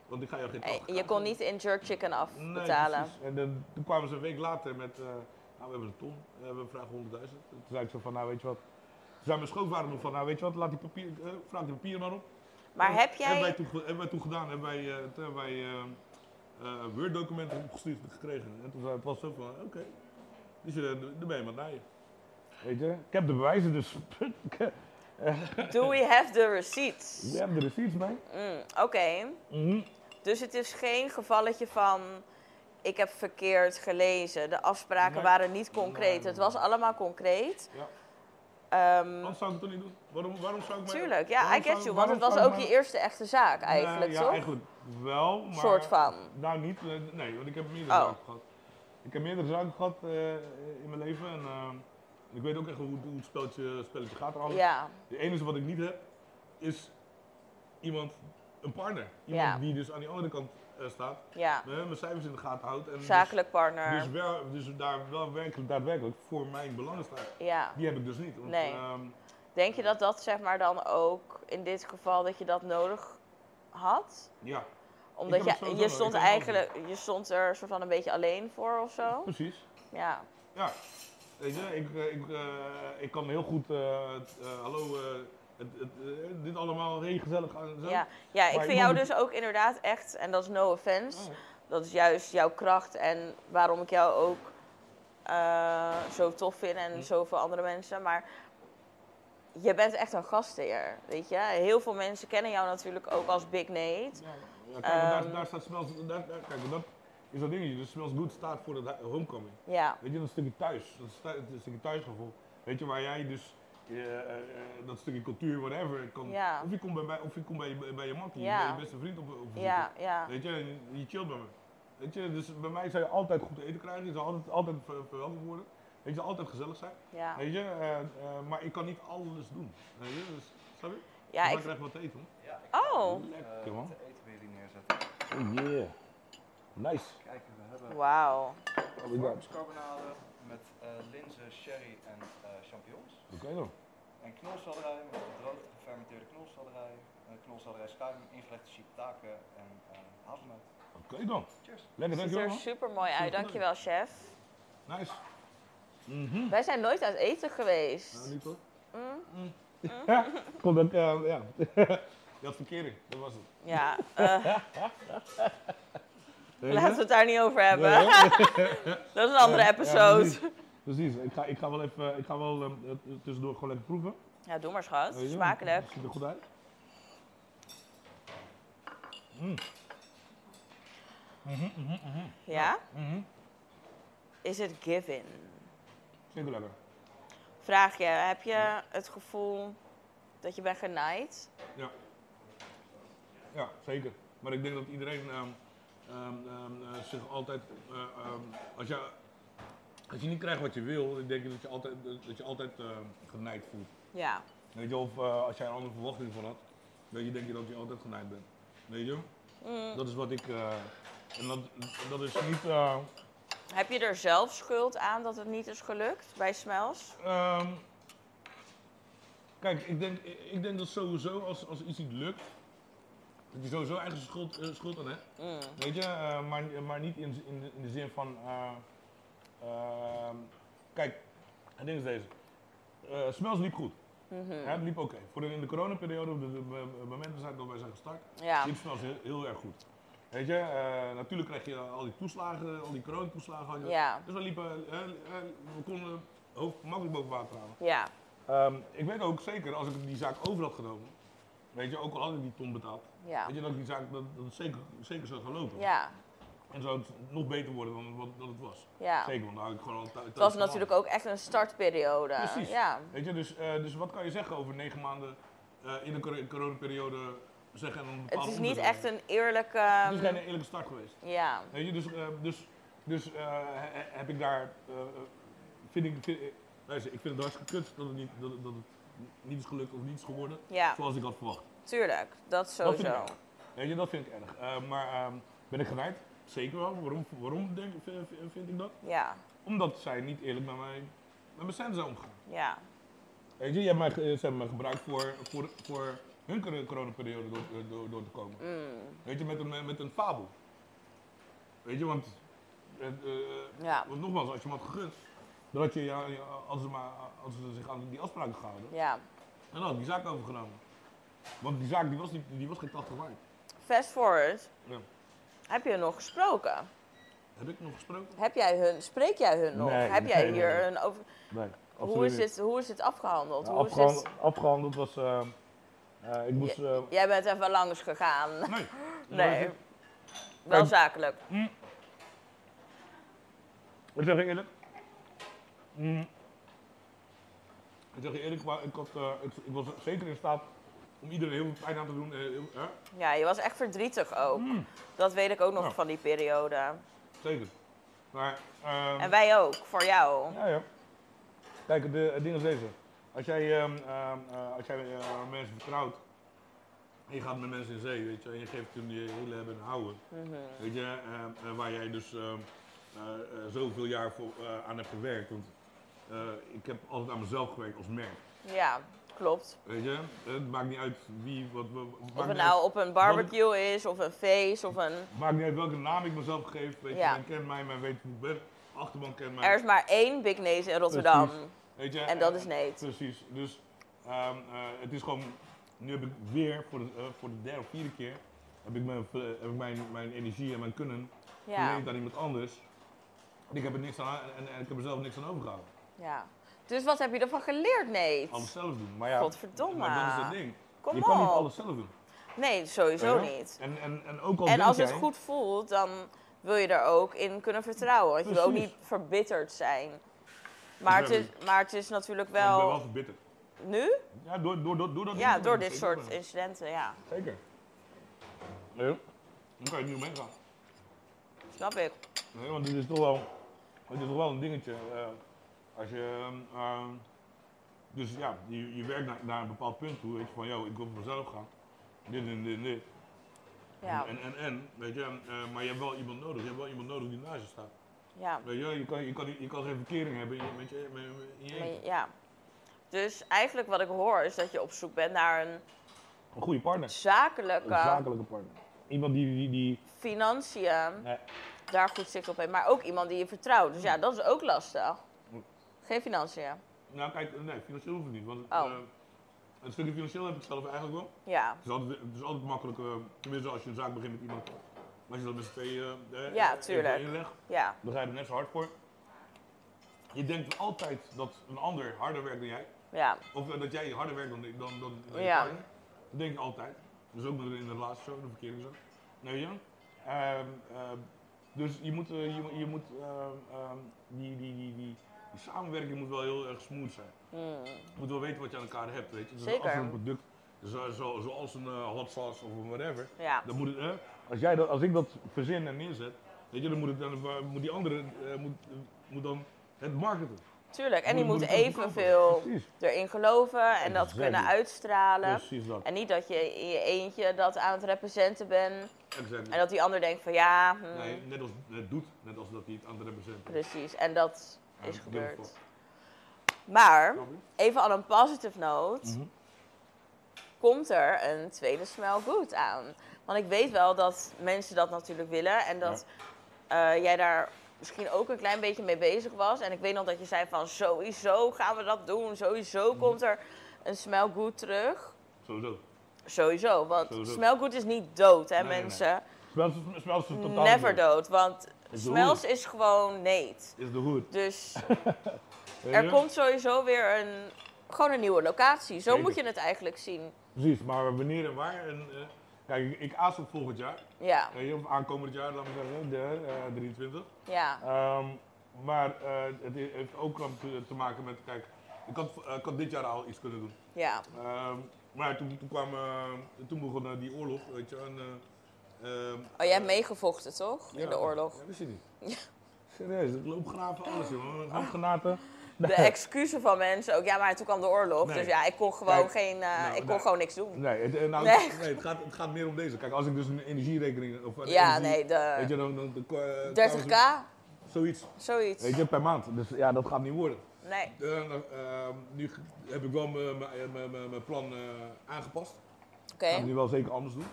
[SPEAKER 2] Want ik ga jou geen
[SPEAKER 1] Hey,
[SPEAKER 2] 80k
[SPEAKER 1] je kon
[SPEAKER 2] geven.
[SPEAKER 1] niet in jerk chicken
[SPEAKER 2] Nee,
[SPEAKER 1] afbetalen.
[SPEAKER 2] precies. En dan, toen kwamen ze een week later met, eh, nou we hebben een ton, eh, we vragen 100.000. Toen zei ik zo van, nou weet je wat. Toen zei mijn schoonvader nog van, nou weet je wat, laat die papier, eh, vraag die papieren maar op.
[SPEAKER 1] maar
[SPEAKER 2] En-
[SPEAKER 1] heb
[SPEAKER 2] Hebben wij
[SPEAKER 1] jij.
[SPEAKER 2] toen, ge- hebben wij toen gedaan, hebben wij, eh, toen hebben wij eh, eh, Word-documenten opgestuurd gekregen. En toen zei het was zo van, oké, dus je, daar ben je maar naar je. Weet je, ik heb de bewijzen dus. <laughs>
[SPEAKER 1] Do we have the receipts?
[SPEAKER 2] We hebben de receipts bij.
[SPEAKER 1] Mm, Oké.
[SPEAKER 2] Mhm.
[SPEAKER 1] Dus het is geen gevalletje van. Ik heb verkeerd gelezen. De afspraken
[SPEAKER 2] Nee.
[SPEAKER 1] waren niet concreet.
[SPEAKER 2] Nee, nee,
[SPEAKER 1] Het was
[SPEAKER 2] nee.
[SPEAKER 1] allemaal concreet.
[SPEAKER 2] Ja.
[SPEAKER 1] Ehm,
[SPEAKER 2] Waarom zou ik het toch niet doen? Waarom, waarom zou ik mij-
[SPEAKER 1] tuurlijk, ja,
[SPEAKER 2] waarom
[SPEAKER 1] I get
[SPEAKER 2] zou-
[SPEAKER 1] you. Want het
[SPEAKER 2] waarom
[SPEAKER 1] was
[SPEAKER 2] zou ik
[SPEAKER 1] ook
[SPEAKER 2] mij-
[SPEAKER 1] je eerste echte zaak eigenlijk,
[SPEAKER 2] Nou, ja,
[SPEAKER 1] toch?
[SPEAKER 2] eigenlijk wel, maar...
[SPEAKER 1] Soort van.
[SPEAKER 2] Nou, niet. eh, Nee, want ik heb meerdere
[SPEAKER 1] Oh.
[SPEAKER 2] zaken gehad. Ik heb meerdere zaken gehad eh, in mijn leven en eh, ik weet ook echt hoe, hoe het spelletje, spelletje gaat. Er
[SPEAKER 1] Ja,
[SPEAKER 2] Het enige wat ik niet heb, is iemand, een partner. Iemand
[SPEAKER 1] Ja.
[SPEAKER 2] die dus aan die andere kant eh, staat,
[SPEAKER 1] ja.
[SPEAKER 2] eh, mijn cijfers in de gaten houdt. En dus-
[SPEAKER 1] Zakelijk
[SPEAKER 2] Dus,
[SPEAKER 1] partner.
[SPEAKER 2] wel, dus daar wel werkelijk, daadwerkelijk voor mijn belangen staat.
[SPEAKER 1] Ja.
[SPEAKER 2] Die heb ik dus niet. want,
[SPEAKER 1] Nee.
[SPEAKER 2] ehm,
[SPEAKER 1] Denk je dat dat zeg maar dan ook in dit geval dat je dat nodig had?
[SPEAKER 2] ja,
[SPEAKER 1] Omdat
[SPEAKER 2] heb het
[SPEAKER 1] je,
[SPEAKER 2] sowieso
[SPEAKER 1] je
[SPEAKER 2] nodig.
[SPEAKER 1] stond
[SPEAKER 2] Ik heb het altijd.
[SPEAKER 1] eigenlijk, je stond er soort van een beetje alleen voor of zo.
[SPEAKER 2] precies.
[SPEAKER 1] Ja,
[SPEAKER 2] Ja, weet je, ik, eh, ik, eh, ik kan heel goed. eh, het, eh, hallo, eh, het, het, eh, dit allemaal heel gezellig aan. Zo.
[SPEAKER 1] ja. ja ik
[SPEAKER 2] Maar
[SPEAKER 1] vind
[SPEAKER 2] je
[SPEAKER 1] jou
[SPEAKER 2] moet-
[SPEAKER 1] dus ook inderdaad echt, en dat is no
[SPEAKER 2] Ah,
[SPEAKER 1] offense,
[SPEAKER 2] ja.
[SPEAKER 1] dat is juist jouw kracht en waarom ik jou ook eh, zo tof vind en
[SPEAKER 2] Hm.
[SPEAKER 1] zoveel andere mensen. Maar je bent echt een gastheer, weet je. Heel veel mensen kennen jou natuurlijk ook als Big Nate.
[SPEAKER 2] Ja, ja, kijk, want daar,
[SPEAKER 1] Ehm.
[SPEAKER 2] daar staat smells. Daar, daar- kijk, want dat is dat dingetje. Dus smells good staat voor het hu- homecoming.
[SPEAKER 1] Ja,
[SPEAKER 2] Weet je, dat stukje thuis. Dat stu- dat stukje thuisgevoel. Weet je, waar jij dus. eh, eh, eh, dat stukje cultuur, whatever. Kan,
[SPEAKER 1] Ja.
[SPEAKER 2] Of je komt bij, mij- of je, komt bij, je- bij je makkie,
[SPEAKER 1] Ja.
[SPEAKER 2] bij je beste vriend op, op bezoek.
[SPEAKER 1] ja, ja.
[SPEAKER 2] Weet je, en je chillt bij me. Weet je, dus bij mij zou je altijd goed eten krijgen, je zou altijd, altijd ver- verwelkomd worden. Weet je, altijd gezellig zijn.
[SPEAKER 1] ja.
[SPEAKER 2] Weet je, eh, eh, maar ik kan niet alles doen. Weet je, dus, snap je?
[SPEAKER 1] Ja,
[SPEAKER 2] ik
[SPEAKER 1] ik...
[SPEAKER 2] krijg wat te eten.
[SPEAKER 3] Ja, ik
[SPEAKER 1] Oh,
[SPEAKER 2] Lekker
[SPEAKER 3] eh,
[SPEAKER 2] man.
[SPEAKER 3] het eten bij jullie neerzetten.
[SPEAKER 2] Oh yeah. Nice.
[SPEAKER 3] Kijk, we hebben
[SPEAKER 1] wauw.
[SPEAKER 3] varkenscarbonade met eh, linzen, sherry en eh, champignons.
[SPEAKER 2] Oké dan.
[SPEAKER 3] En knolselderij met gedroogde gefermenteerde knolselderij. eh knolselderij schuim, ingelegde shiitake en eh hazelnoot.
[SPEAKER 2] Oké dan.
[SPEAKER 3] Cheers!
[SPEAKER 2] Lekker,
[SPEAKER 1] Ziet
[SPEAKER 2] dankjewel
[SPEAKER 1] er
[SPEAKER 2] man.
[SPEAKER 1] super mooi
[SPEAKER 2] Super
[SPEAKER 1] uit, dankjewel chef.
[SPEAKER 2] Nice. Mhm.
[SPEAKER 1] Wij zijn nooit uit eten
[SPEAKER 2] Nou,
[SPEAKER 1] geweest.
[SPEAKER 2] niet hoor.
[SPEAKER 1] Mm,
[SPEAKER 2] Komt dat, eh, ja. <laughs> Je had verkering, dat was het. <laughs>
[SPEAKER 1] ja, eh,
[SPEAKER 2] Weet je?
[SPEAKER 1] laten we het daar niet over hebben.
[SPEAKER 2] Nee, hè?
[SPEAKER 1] <laughs> Dat is een andere
[SPEAKER 2] Ja,
[SPEAKER 1] episode.
[SPEAKER 2] Ja, precies. Precies. Ik ga, ik ga wel even, ik ga wel eh, tussendoor gewoon lekker proeven.
[SPEAKER 1] Ja, doe maar schat,
[SPEAKER 2] Weet je,
[SPEAKER 1] smakelijk.
[SPEAKER 2] het Ziet er goed uit. Mm. Mhm, mhm, mhm,
[SPEAKER 1] Ja?
[SPEAKER 2] mhm.
[SPEAKER 1] Is het given?
[SPEAKER 2] Zeker lekker.
[SPEAKER 1] Vraag je, heb je het gevoel dat je bent genaaid?
[SPEAKER 2] Ja, zeker. Maar ik denk dat iedereen ehm, ehm, ehm, eh, zich altijd, eh, ehm, als, je, als je niet krijgt wat je wil, ik denk dat je altijd, dat je altijd ehm, genaaid voelt.
[SPEAKER 1] Ja.
[SPEAKER 2] Weet je, of eh, als jij een andere verwachting van had, weet je, denk je dat je altijd genaaid bent. Weet je?
[SPEAKER 1] Mm,
[SPEAKER 2] Dat is wat ik, eh, en dat, dat is niet, eh,
[SPEAKER 1] Heb je er zelf schuld aan dat het niet is gelukt bij Smells?
[SPEAKER 2] Ehm, kijk, ik denk, ik denk dat sowieso als, als iets niet lukt, Dat je sowieso eigen schuld, eh, schuld aan hebt.
[SPEAKER 1] Mm.
[SPEAKER 2] Weet je, eh, maar, maar niet in, z- in, de- in de zin van. eh, ehm, kijk, het ding is deze. Eh Smels liep goed.
[SPEAKER 1] Mhm.
[SPEAKER 2] Ja, het liep oké. Voor de, in de coronaperiode, op de, de- de- de momenten zijn dat wij zijn gestart,
[SPEAKER 1] Ja.
[SPEAKER 2] liep Smels heel, heel erg goed. Weet je, eh, natuurlijk kreeg je al die toeslagen, al die coronatoeslagen. had je.
[SPEAKER 1] Ja.
[SPEAKER 2] Dus we liepen, eh, eh, we konden hoofd makkelijk boven water halen.
[SPEAKER 1] Ja.
[SPEAKER 2] Ehm, ik weet ook zeker, als ik die zaak over had genomen, weet je, ook al had ik die ton betaald,
[SPEAKER 1] Ja.
[SPEAKER 2] weet je, dat ik die zaak dat, dat het zeker, zeker zou gaan lopen.
[SPEAKER 1] Ja.
[SPEAKER 2] En zou het nog beter worden dan wat dat het was.
[SPEAKER 1] Ja.
[SPEAKER 2] Zeker, want daar had ik gewoon al thuis
[SPEAKER 1] Het was natuurlijk ook echt een startperiode.
[SPEAKER 2] Precies.
[SPEAKER 1] Ja.
[SPEAKER 2] Weet je, dus, eh, dus wat kan je zeggen over negen maanden eh, in de cor- coronaperiode zeggen en een
[SPEAKER 1] Het
[SPEAKER 2] bepaald
[SPEAKER 1] is niet
[SPEAKER 2] onderwerp?
[SPEAKER 1] echt een eerlijke. ehm,
[SPEAKER 2] Het is geen eerlijke start geweest.
[SPEAKER 1] Ja.
[SPEAKER 2] Weet je, dus, eh, dus, dus eh, he- he- heb ik daar, eh, eh, vind ik, vind, eh, luister, ik vind het hartstikke kut dat het niet, dat, het- dat het niet is gelukt of niet is geworden
[SPEAKER 1] Ja.
[SPEAKER 2] zoals ik had verwacht.
[SPEAKER 1] Tuurlijk. Dat
[SPEAKER 2] vind ik
[SPEAKER 1] sowieso.
[SPEAKER 2] erg. Weet je, dat vind ik erg. Eh, maar ehm, ben ik gewijd? Zeker wel. Waarom, waarom denk, v- v- vind ik dat?
[SPEAKER 1] Ja.
[SPEAKER 2] Omdat zij niet eerlijk met mij, met mijn cent zijn omgegaan.
[SPEAKER 1] Ja.
[SPEAKER 2] Weet je, je hebt mij, ge- ze hebben mij gebruikt voor, voor, voor hun cor- coronaperiode door, eh, door, door te komen.
[SPEAKER 1] Mm.
[SPEAKER 2] Weet je, met een, met een fabel. Weet je, want, eh, eh,
[SPEAKER 1] Ja.
[SPEAKER 2] want nogmaals, als je me had gegund, dan had je, ja, ja, als, ze maar, als ze zich aan die afspraken gehouden,
[SPEAKER 1] Ja.
[SPEAKER 2] dan had ik die zaak overgenomen. Want die zaak die was, niet, die was geen 80 waard.
[SPEAKER 1] Fast forward.
[SPEAKER 2] Ja.
[SPEAKER 1] Heb je nog gesproken?
[SPEAKER 2] Heb ik nog gesproken?
[SPEAKER 1] Heb jij hun, spreek jij hun nog?
[SPEAKER 2] Nee,
[SPEAKER 1] Heb jij
[SPEAKER 2] nee,
[SPEAKER 1] hier
[SPEAKER 2] nee, nee.
[SPEAKER 1] een over.
[SPEAKER 2] Nee.
[SPEAKER 1] Hoe is, dit, hoe is dit afgehandeld?
[SPEAKER 2] Nou,
[SPEAKER 1] hoe is
[SPEAKER 2] afgehandeld,
[SPEAKER 1] dit...
[SPEAKER 2] afgehandeld was. eh, eh, ik moest. eh,
[SPEAKER 1] Jij bent even langs gegaan.
[SPEAKER 2] nee.
[SPEAKER 1] <laughs> Nee.
[SPEAKER 2] Ik
[SPEAKER 1] Wel
[SPEAKER 2] Kijk.
[SPEAKER 1] zakelijk.
[SPEAKER 2] zeg je eerlijk. Mm. Ik zeg je eerlijk, maar ik, had, eh, ik, ik was zeker in staat om iedereen heel veel pijn aan te doen. eh, heel- hè?
[SPEAKER 1] Ja, je was echt verdrietig ook. Dat weet ik ook nog
[SPEAKER 2] Mm. Ja.
[SPEAKER 1] van die periode.
[SPEAKER 2] Zeker. Maar. ehm,
[SPEAKER 1] En wij ook, voor jou.
[SPEAKER 2] Ja, ja. Kijk, de, het ding is deze. Als jij, ehm, ehm, eh, als jij eh, mensen vertrouwt en je gaat met mensen in zee, weet je, en je geeft hun je hele hebben en houden,
[SPEAKER 1] Mhm.
[SPEAKER 2] weet je, ehm, eh, waar jij dus ehm, eh, eh, zoveel jaar voor, eh, aan hebt gewerkt. Want eh, ik heb altijd aan mezelf gewerkt als merk,
[SPEAKER 1] Ja, klopt.
[SPEAKER 2] weet je. Het maakt niet uit wie, wat, wat- wat-
[SPEAKER 1] Of
[SPEAKER 2] maakt,
[SPEAKER 1] het
[SPEAKER 2] niet uit,
[SPEAKER 1] nou op een barbecue is, of een feest, of een...
[SPEAKER 2] maakt niet uit welke naam ik mezelf geef, weet je.
[SPEAKER 1] Ja.
[SPEAKER 2] Men kent mij, men weet hoe ik ben. Achterban kent mij.
[SPEAKER 1] Er is maar één Big Nees in Rotterdam.
[SPEAKER 2] Weet je, eh,
[SPEAKER 1] En dat is Nate.
[SPEAKER 2] Precies. Dus ehm, eh, het is gewoon. Nu heb ik weer voor de, eh, voor de derde of vierde keer. Heb ik mijn, eh, heb ik mijn, mijn energie en mijn kunnen.
[SPEAKER 1] Ja,
[SPEAKER 2] verleend aan iemand anders. En ik heb er niks aan. En, en ik heb er zelf niks aan overgehouden.
[SPEAKER 1] ja. Dus wat heb je ervan geleerd,
[SPEAKER 2] Alles
[SPEAKER 1] Nate?
[SPEAKER 2] zelf doen. Maar ja.
[SPEAKER 1] Godverdomme.
[SPEAKER 2] Maar dat is het ding.
[SPEAKER 1] Kom
[SPEAKER 2] je
[SPEAKER 1] op.
[SPEAKER 2] kan niet alles zelf doen.
[SPEAKER 1] Nee, sowieso
[SPEAKER 2] Weet je?
[SPEAKER 1] niet.
[SPEAKER 2] En, en, en ook al.
[SPEAKER 1] En
[SPEAKER 2] denk
[SPEAKER 1] als het
[SPEAKER 2] jij-
[SPEAKER 1] goed voelt, dan wil je er ook in kunnen vertrouwen. Want je wil ook
[SPEAKER 2] Precies.
[SPEAKER 1] niet verbitterd zijn. Maar het, is, maar het is natuurlijk
[SPEAKER 2] Ik ben wel
[SPEAKER 1] wel...
[SPEAKER 2] verbitterd.
[SPEAKER 1] Nu?
[SPEAKER 2] Ja, door, door, door, door dat
[SPEAKER 1] Ja,
[SPEAKER 2] soort
[SPEAKER 1] door
[SPEAKER 2] dingen.
[SPEAKER 1] dit
[SPEAKER 2] Zeker
[SPEAKER 1] soort
[SPEAKER 2] wel.
[SPEAKER 1] incidenten, ja.
[SPEAKER 2] Zeker. Ja. Dan kan je nu meegaan.
[SPEAKER 1] Snap ik.
[SPEAKER 2] Nee, want dit is toch wel, het is toch wel een dingetje. eh, als je, ehm, ehm, dus ja, je, je werkt naar, naar een bepaald punt toe, weet je, van, joh, ik wil voor mezelf gaan. Dit en dit en dit.
[SPEAKER 1] Ja,
[SPEAKER 2] En, en, en, weet je, eh, maar je hebt wel iemand nodig. Je hebt wel iemand nodig die naast je staat.
[SPEAKER 1] ja.
[SPEAKER 2] Weet je, je kan, je kan, je kan geen verkering hebben in je, met je, met, met- in je
[SPEAKER 1] Maar
[SPEAKER 2] eentje.
[SPEAKER 1] ja. Dus eigenlijk wat ik hoor is dat je op zoek bent naar een
[SPEAKER 2] Een goede partner.
[SPEAKER 1] zakelijke
[SPEAKER 2] Een zakelijke partner. Iemand die, die, die eh,
[SPEAKER 1] financiën
[SPEAKER 2] nee,
[SPEAKER 1] daar goed zicht op heeft. Maar ook iemand die je vertrouwt. Dus ja, dat is ook lastig. Geen financiën.
[SPEAKER 2] nou kijk, nee, financieel hoeft het niet. Want
[SPEAKER 1] Oh.
[SPEAKER 2] eh, het stukje financieel heb ik zelf eigenlijk wel.
[SPEAKER 1] Ja.
[SPEAKER 2] Het is altijd, het is altijd makkelijk, eh, tenminste als je een zaak begint met iemand, als je dat met z'n tweeën eh,
[SPEAKER 1] Ja,
[SPEAKER 2] eh,
[SPEAKER 1] tuurlijk.
[SPEAKER 2] even inlegt,
[SPEAKER 1] Ja.
[SPEAKER 2] dan ga je er net zo hard voor. Je denkt altijd dat een ander harder werkt dan jij,
[SPEAKER 1] Ja.
[SPEAKER 2] of eh, dat jij harder werkt dan, dan, dan, dan je
[SPEAKER 1] Ja.
[SPEAKER 2] partner. Dat denk je altijd. Dus ook in de relatie zo, in de verkering zo. Nee, ja. Ehm, ehm, dus je moet, eh, je, moet- je moet ehm, ehm, die, die, die, die, die samenwerking moet wel heel erg smooth zijn.
[SPEAKER 1] Mm.
[SPEAKER 2] Je moet wel weten wat je aan elkaar hebt, weet je. Dus
[SPEAKER 1] Zeker.
[SPEAKER 2] Als een product, zo, zo, zoals een eh, hot sauce of een whatever,
[SPEAKER 1] Ja.
[SPEAKER 2] dan moet het, hè, als, jij dat, als ik dat verzin en neerzet, weet je, dan moet, het, dan, eh, moet die andere eh, moet, moet dan het marketen.
[SPEAKER 1] Tuurlijk. En die moet
[SPEAKER 2] het ook
[SPEAKER 1] evenveel
[SPEAKER 2] verkopen. Precies,
[SPEAKER 1] erin geloven en dat
[SPEAKER 2] Exactly.
[SPEAKER 1] kunnen uitstralen.
[SPEAKER 2] precies dat.
[SPEAKER 1] En niet dat je in je eentje dat aan het representen bent.
[SPEAKER 2] Exactly.
[SPEAKER 1] En dat die ander denkt van ja, hmm,
[SPEAKER 2] Nee, net als het doet, net als dat hij het andere bezint.
[SPEAKER 1] precies. En dat
[SPEAKER 2] Ja,
[SPEAKER 1] is
[SPEAKER 2] dat
[SPEAKER 1] gebeurd.
[SPEAKER 2] klopt.
[SPEAKER 1] Maar
[SPEAKER 2] Snap je?
[SPEAKER 1] even aan een positive note.
[SPEAKER 2] Mhm.
[SPEAKER 1] komt er een tweede smell good aan? Want ik weet wel dat mensen dat natuurlijk willen en dat eh, jij daar misschien ook een klein beetje mee bezig was. En ik weet nog dat je zei van sowieso gaan we dat doen, sowieso
[SPEAKER 2] Mhm.
[SPEAKER 1] komt er een smell good terug.
[SPEAKER 2] Sowieso.
[SPEAKER 1] Sowieso, want
[SPEAKER 2] Sowieso.
[SPEAKER 1] smell good is niet dood hè
[SPEAKER 2] Nee, nee, nee.
[SPEAKER 1] mensen.
[SPEAKER 2] Smelt is, smelt is totaal
[SPEAKER 1] Never
[SPEAKER 2] niet.
[SPEAKER 1] dood, want
[SPEAKER 2] de
[SPEAKER 1] smells is gewoon neet.
[SPEAKER 2] Is de hoed.
[SPEAKER 1] Dus
[SPEAKER 2] Weet
[SPEAKER 1] er
[SPEAKER 2] je?
[SPEAKER 1] komt sowieso weer een, gewoon een nieuwe locatie. Zo
[SPEAKER 2] Zeker.
[SPEAKER 1] moet je het eigenlijk zien.
[SPEAKER 2] Precies, maar wanneer en waar. En, eh, kijk, ik, ik aas op volgend jaar.
[SPEAKER 1] Ja,
[SPEAKER 2] Weet je, of aankomend jaar, laat maar zeggen, de eh, 23.
[SPEAKER 1] ja,
[SPEAKER 2] Ehm, maar eh, het heeft ook te, te maken met, kijk, ik had, eh, ik had dit jaar al iets kunnen doen.
[SPEAKER 1] ja.
[SPEAKER 2] Ehm, maar toen, toen, kwam, eh, toen begon eh, die oorlog, weet je. En, eh, ehm,
[SPEAKER 1] Oh, jij hebt meegevochten, toch?
[SPEAKER 2] ja,
[SPEAKER 1] In de oorlog.
[SPEAKER 2] Ja, wist je niet. Serieus, ik loop graven alles, jongen. Handgranaten.
[SPEAKER 1] De excuses van mensen ook. Ja, maar toen kwam de oorlog.
[SPEAKER 2] Nee.
[SPEAKER 1] Dus ja, ik kon gewoon,
[SPEAKER 2] Kijk,
[SPEAKER 1] geen, eh,
[SPEAKER 2] nou,
[SPEAKER 1] ik kon
[SPEAKER 2] nou,
[SPEAKER 1] gewoon niks doen.
[SPEAKER 2] Nee, het, eh, nou,
[SPEAKER 1] Nee.
[SPEAKER 2] nee, het, gaat, het gaat meer om deze. Kijk, als ik dus een energierekening of een
[SPEAKER 1] ja,
[SPEAKER 2] energie-
[SPEAKER 1] nee,
[SPEAKER 2] Weet je,
[SPEAKER 1] de
[SPEAKER 2] dan, dan, dan, eh,
[SPEAKER 1] 30k,
[SPEAKER 2] Zoiets.
[SPEAKER 1] zoiets.
[SPEAKER 2] Weet je, per maand. Dus ja, dat gaat niet worden.
[SPEAKER 1] Nee,
[SPEAKER 2] Eh, eh, nu g- heb ik wel mijn- mijn- mijn mijn- mijn plan eh, aangepast.
[SPEAKER 1] oké.
[SPEAKER 2] Ik ga het Nou, nu wel zeker anders doen.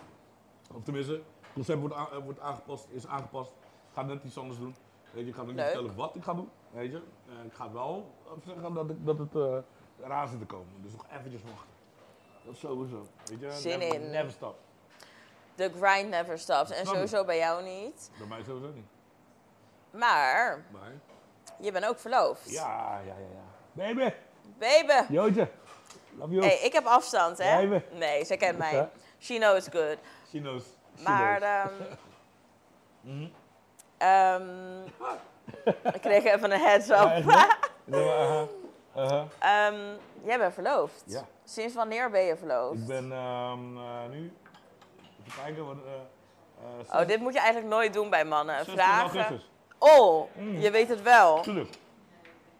[SPEAKER 2] Of tenminste, het concept wordt, a- eh, wordt aangepast, is aangepast. Ik ga net iets anders doen. Weet je, ik ga nog niet
[SPEAKER 1] Leuk.
[SPEAKER 2] vertellen wat ik ga doen. Weet je. Eh, ik ga wel zeggen dat, ik, dat het eh, eraan zit te komen. Dus nog eventjes wachten. Dat sowieso. Weet je,
[SPEAKER 1] Zin
[SPEAKER 2] never,
[SPEAKER 1] in.
[SPEAKER 2] Never stop.
[SPEAKER 1] The grind never stops. En
[SPEAKER 2] Snap ik.
[SPEAKER 1] sowieso bij jou niet.
[SPEAKER 2] Bij mij sowieso niet.
[SPEAKER 1] Maar
[SPEAKER 2] Maar,
[SPEAKER 1] je bent ook verloofd.
[SPEAKER 2] ja, ja, ja, ja. Baby,
[SPEAKER 1] Baby!
[SPEAKER 2] Jootje. Love you.
[SPEAKER 1] Hey, ik heb afstand, hè?
[SPEAKER 2] Jij
[SPEAKER 1] Nee, ze kent mij.
[SPEAKER 2] Ja.
[SPEAKER 1] She knows good.
[SPEAKER 2] She knows. She
[SPEAKER 1] Maar,
[SPEAKER 2] <laughs> knows.
[SPEAKER 1] ehm
[SPEAKER 2] Mhm.
[SPEAKER 1] ehm, ik kreeg even een heads up.
[SPEAKER 2] Ja, echt waar? Ja, maar, eh, aha, aha.
[SPEAKER 1] Ehm, jij bent verloofd.
[SPEAKER 2] Ja.
[SPEAKER 1] Sinds wanneer ben je verloofd?
[SPEAKER 2] Ik ben ehm, eh, nu. Even kijken wat. eh, eh,
[SPEAKER 1] Oh,
[SPEAKER 2] 16
[SPEAKER 1] dit moet je eigenlijk nooit doen bij mannen.
[SPEAKER 2] 16
[SPEAKER 1] Vragen.
[SPEAKER 2] augustus.
[SPEAKER 1] Oh,
[SPEAKER 2] Mm.
[SPEAKER 1] je weet het wel.
[SPEAKER 2] Tuurlijk.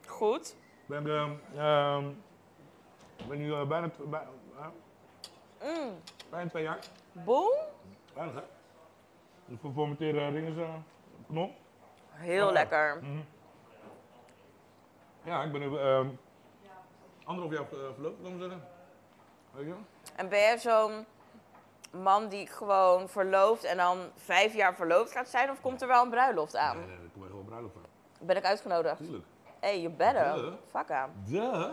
[SPEAKER 1] Goed.
[SPEAKER 2] Ik ben, ehm, ehm, ik ben nu eh, bijna, tw- bij- eh,
[SPEAKER 1] Mm.
[SPEAKER 2] bijna twee jaar.
[SPEAKER 1] Boom.
[SPEAKER 2] Weinig hè? Dus voor formateren eh, dingen ze. eh, knol.
[SPEAKER 1] Heel
[SPEAKER 2] Ah.
[SPEAKER 1] lekker.
[SPEAKER 2] Mhm. Ja, ik ben nu. ehm anderhalf jaar eh, verloofd, laten we zeggen. Weet je?
[SPEAKER 1] En ben jij zo'n man die gewoon verlooft en dan vijf jaar verloofd gaat zijn? Of komt er wel een bruiloft aan?
[SPEAKER 2] Nee, nee, nee, ik kom er gewoon bruiloft van.
[SPEAKER 1] Ben ik uitgenodigd?
[SPEAKER 2] Tuurlijk.
[SPEAKER 1] hey, je better.
[SPEAKER 2] Duh.
[SPEAKER 1] Fuck aan.
[SPEAKER 2] Duh.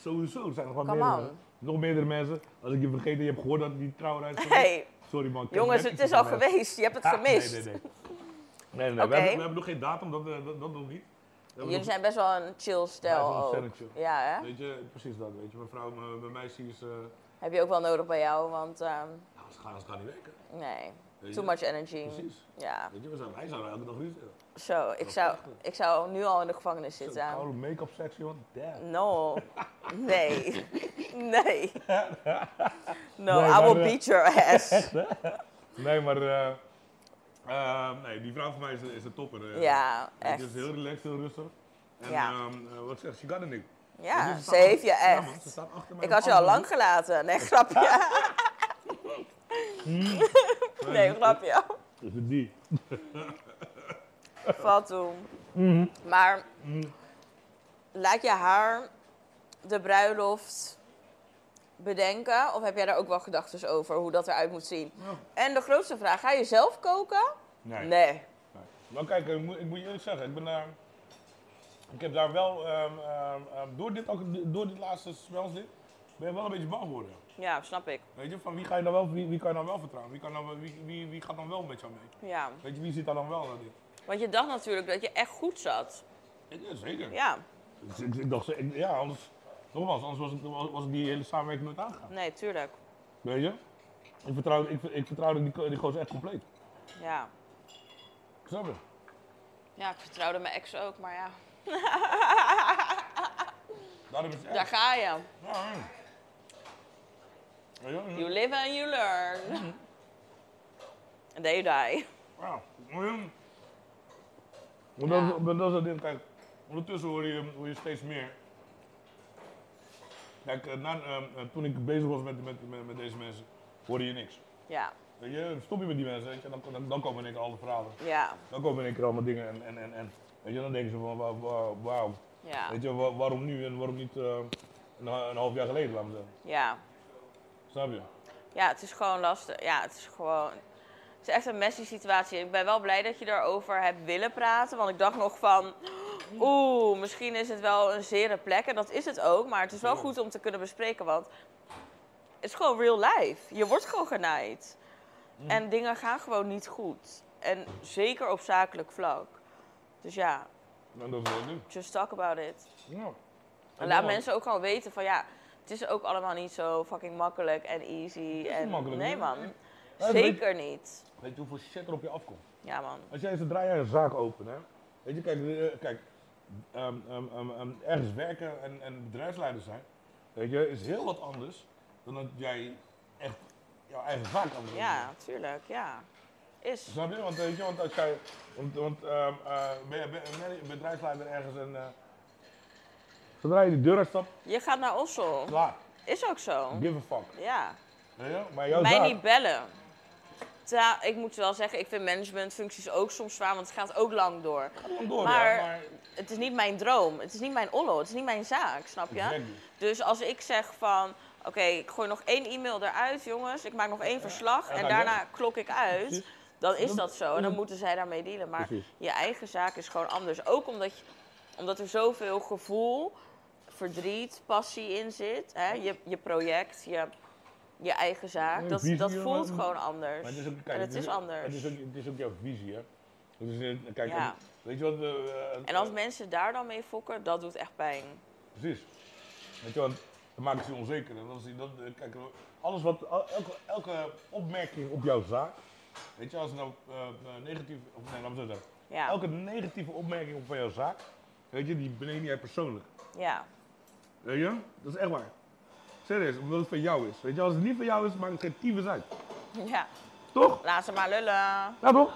[SPEAKER 2] Sowieso, er zijn nog wel
[SPEAKER 1] Come
[SPEAKER 2] meerdere,
[SPEAKER 1] on.
[SPEAKER 2] nog meerdere mensen. Als ik je vergeten, je hebt gehoord dat die trouwreis was.
[SPEAKER 1] Hey,
[SPEAKER 2] Sorry man. ik heb
[SPEAKER 1] jongens,
[SPEAKER 2] net
[SPEAKER 1] het
[SPEAKER 2] iets
[SPEAKER 1] is al
[SPEAKER 2] gemist.
[SPEAKER 1] geweest. Je hebt het
[SPEAKER 2] Ah,
[SPEAKER 1] gemist.
[SPEAKER 2] Nee, nee, nee. nee, nee, nee.
[SPEAKER 1] Oké.
[SPEAKER 2] We, hebben, we hebben nog geen datum, dat, eh, dat, dat nog niet. We hebben
[SPEAKER 1] Jullie
[SPEAKER 2] nog-
[SPEAKER 1] zijn best wel een chill
[SPEAKER 2] Wij
[SPEAKER 1] stijl
[SPEAKER 2] zijn
[SPEAKER 1] ook.
[SPEAKER 2] ontzettend chill.
[SPEAKER 1] Ja, hè?
[SPEAKER 2] Weet je, precies dat. Weet je, mijn vrouw, mijn, mijn meisje is... eh,
[SPEAKER 1] Heb je ook wel nodig bij jou, want ehm,
[SPEAKER 2] nou, ze gaan, ze gaan niet werken.
[SPEAKER 1] nee,
[SPEAKER 2] Weet
[SPEAKER 1] too
[SPEAKER 2] je?
[SPEAKER 1] much energy.
[SPEAKER 2] Precies.
[SPEAKER 1] Ja.
[SPEAKER 2] Weet je, we zijn, wij zouden elke dag ruzie hebben.
[SPEAKER 1] Zo, ik
[SPEAKER 2] is
[SPEAKER 1] zou,
[SPEAKER 2] prachtig.
[SPEAKER 1] ik zou nu al in de gevangenis
[SPEAKER 2] Zo'n
[SPEAKER 1] zitten.
[SPEAKER 2] Koude make-up sexy, man. Damn.
[SPEAKER 1] No.
[SPEAKER 2] <laughs>
[SPEAKER 1] Nee. Nee. No,
[SPEAKER 2] Nee,
[SPEAKER 1] I
[SPEAKER 2] maar,
[SPEAKER 1] will
[SPEAKER 2] eh,
[SPEAKER 1] beat your ass.
[SPEAKER 2] <laughs> Nee, maar... eh, eh, nee, die vrouw van mij is, is een topper. eh.
[SPEAKER 1] Ja,
[SPEAKER 2] Weet
[SPEAKER 1] echt.
[SPEAKER 2] je, Ze is heel relaxed, heel rustig. En
[SPEAKER 1] Ja.
[SPEAKER 2] ehm, eh, wat zegt ze? She got it, Nick.
[SPEAKER 1] Ja,
[SPEAKER 2] Weet ze
[SPEAKER 1] ze
[SPEAKER 2] staat
[SPEAKER 1] heeft je
[SPEAKER 2] achter- ja, man, ze
[SPEAKER 1] echt.
[SPEAKER 2] staat achter mij
[SPEAKER 1] Ik
[SPEAKER 2] op
[SPEAKER 1] had je al
[SPEAKER 2] alles.
[SPEAKER 1] lang gelaten.
[SPEAKER 2] <laughs>
[SPEAKER 1] Nee, grapje.
[SPEAKER 2] Hmm.
[SPEAKER 1] <laughs> Nee, grapje.
[SPEAKER 2] Is het die?
[SPEAKER 1] Valt toen. Maar laat je haar de bruiloft bedenken? Of heb jij daar ook wel gedachten over hoe dat eruit moet zien?
[SPEAKER 2] Ja.
[SPEAKER 1] En de grootste vraag, ga je zelf koken?
[SPEAKER 2] Nee.
[SPEAKER 1] Nee.
[SPEAKER 2] Nee. Maar kijk, ik moet, ik moet je eerlijk zeggen, ik ben daar. Ik heb daar wel. ehm, ehm, ehm, door, dit, ook- door dit laatste spelzit ben je wel een beetje bang geworden.
[SPEAKER 1] Ja, snap ik.
[SPEAKER 2] Weet je, van wie, ga je dan wel, wie, wie kan je dan wel vertrouwen? Wie, kan dan, wel- wie, wie, wie gaat dan wel met jou mee?
[SPEAKER 1] Ja.
[SPEAKER 2] Weet je, wie zit daar dan wel aan dit?
[SPEAKER 1] Want je dacht natuurlijk dat je echt goed zat.
[SPEAKER 2] Ik, ja, zeker.
[SPEAKER 1] Ja,
[SPEAKER 2] Dus ik, ik dacht, ik- ja, anders. Nogmaals, anders was, ik- was, was ik die hele samenwerking nooit aangegaan.
[SPEAKER 1] nee, tuurlijk.
[SPEAKER 2] Weet je? Ik vertrouwde, ik, ik vertrouwde die, die gozer echt compleet.
[SPEAKER 1] Ja.
[SPEAKER 2] Snap je?
[SPEAKER 1] Ja, ik vertrouwde mijn ex ook, maar ja.
[SPEAKER 2] Daarom is het echt.
[SPEAKER 1] Daar ga je.
[SPEAKER 2] Ja, ja. Weet je?
[SPEAKER 1] You live and you learn. And they die.
[SPEAKER 2] Ja. mm. Maar dat,
[SPEAKER 1] Ja.
[SPEAKER 2] maar dat is het ding, kijk. Ondertussen hoor je, hoor je steeds meer. Kijk, eh, na, eh, eh, toen ik bezig was met, met, met, met deze mensen, hoorde je niks.
[SPEAKER 1] Ja,
[SPEAKER 2] Weet je, stop je met die mensen, weet je, dan, dan, dan komen in één keer alle verhalen.
[SPEAKER 1] ja,
[SPEAKER 2] Dan komen in één keer allemaal dingen en, en, en, en weet je, dan denken ze van, wauw, wauw, wauw.
[SPEAKER 1] ja,
[SPEAKER 2] weet je, wa- waarom nu en waarom niet eh, een, ha- een half jaar geleden, laten we zeggen.
[SPEAKER 1] ja.
[SPEAKER 2] Snap je?
[SPEAKER 1] Ja, het is gewoon lastig. Ja, het is gewoon. Het is echt een messy situatie. Ik ben wel blij dat je daarover hebt willen praten. Want ik dacht nog van. Oeh, misschien is het wel een zere plek. En dat is het ook. Maar het is wel goed om te kunnen bespreken. Want het is gewoon real life. Je wordt gewoon genaaid. En dingen gaan gewoon niet goed. En zeker op zakelijk vlak. Dus ja,
[SPEAKER 2] Dan dat wil ik doen.
[SPEAKER 1] just talk about it.
[SPEAKER 2] Ja.
[SPEAKER 1] En laat mensen ook gewoon weten van ja, het is ook allemaal niet zo fucking makkelijk en easy.
[SPEAKER 2] niet
[SPEAKER 1] En...
[SPEAKER 2] makkelijk,
[SPEAKER 1] nee
[SPEAKER 2] hè?
[SPEAKER 1] man,
[SPEAKER 2] Ja, dat
[SPEAKER 1] zeker niet.
[SPEAKER 2] Weet je hoeveel shit er op je afkomt?
[SPEAKER 1] Ja man,
[SPEAKER 2] Als jij zodra jij een zaak opent, hè? Weet je, kijk, eh, kijk ehm, ehm, ehm, ehm, ergens werken en, en bedrijfsleider zijn, weet je, is heel wat anders dan dat jij echt jouw eigen zaak kan doen.
[SPEAKER 1] ja, tuurlijk, ja. Is.
[SPEAKER 2] Snap je? Want, weet je, want als jij, want, want ehm, eh, ben je ben je manage- bedrijfsleider ergens en eh, zodra je de deur uitstapt,
[SPEAKER 1] Je gaat naar Ossel.
[SPEAKER 2] klaar,
[SPEAKER 1] Is ook zo.
[SPEAKER 2] give a fuck.
[SPEAKER 1] Ja.
[SPEAKER 2] Weet je? Maar jouw
[SPEAKER 1] Mij
[SPEAKER 2] zaak,
[SPEAKER 1] niet bellen. Terwijl, ik moet wel zeggen, ik vind managementfuncties ook soms zwaar, want het gaat ook lang door.
[SPEAKER 2] gaat gewoon door,
[SPEAKER 1] maar-
[SPEAKER 2] ja, maar
[SPEAKER 1] Het is niet mijn droom, het is niet mijn ollo, het is niet mijn zaak, snap je?
[SPEAKER 2] Exactly.
[SPEAKER 1] Dus als ik zeg van, oké, ik gooi nog één e-mail eruit, jongens, ik maak nog één verslag
[SPEAKER 2] ga
[SPEAKER 1] en
[SPEAKER 2] ik
[SPEAKER 1] daarna klok ik uit,
[SPEAKER 2] Precies.
[SPEAKER 1] dan is
[SPEAKER 2] Dan-
[SPEAKER 1] dat zo. En dan
[SPEAKER 2] dan-
[SPEAKER 1] moeten zij daarmee dealen. Maar
[SPEAKER 2] Precies.
[SPEAKER 1] je eigen zaak is gewoon anders. Ook omdat, je, omdat er zoveel gevoel, verdriet, passie in zit. Hè? Je, je project, je, je eigen
[SPEAKER 2] Ja,
[SPEAKER 1] zaak, dat,
[SPEAKER 2] visie,
[SPEAKER 1] dat
[SPEAKER 2] ja,
[SPEAKER 1] voelt
[SPEAKER 2] maar-
[SPEAKER 1] gewoon anders.
[SPEAKER 2] Maar het is ook, kijk,
[SPEAKER 1] en het is
[SPEAKER 2] Het
[SPEAKER 1] anders.
[SPEAKER 2] is ook, het is ook jouw visie, hè? Het is, eh, kijk,
[SPEAKER 1] Ja.
[SPEAKER 2] weet je wat... eh, eh,
[SPEAKER 1] En als
[SPEAKER 2] eh,
[SPEAKER 1] mensen daar dan mee fokken, dat doet echt pijn.
[SPEAKER 2] Precies. Weet je, want dan maken ze je onzeker. En dan zie je dat, eh, kijk, alles wat, el- elke, elke opmerking op jouw zaak, weet je, als het nou eh, eh, negatief, of nee, laat me zo zeggen.
[SPEAKER 1] Ja,
[SPEAKER 2] Elke negatieve opmerking op van jouw zaak, weet je, die beneem jij persoonlijk.
[SPEAKER 1] ja.
[SPEAKER 2] Weet je? Dat is echt waar. Serieus, omdat het van jou is. Weet je, als het niet van jou is, maakt het geen tyfus uit.
[SPEAKER 1] ja.
[SPEAKER 2] Toch?
[SPEAKER 1] Laat ze maar lullen.
[SPEAKER 2] Ja, toch?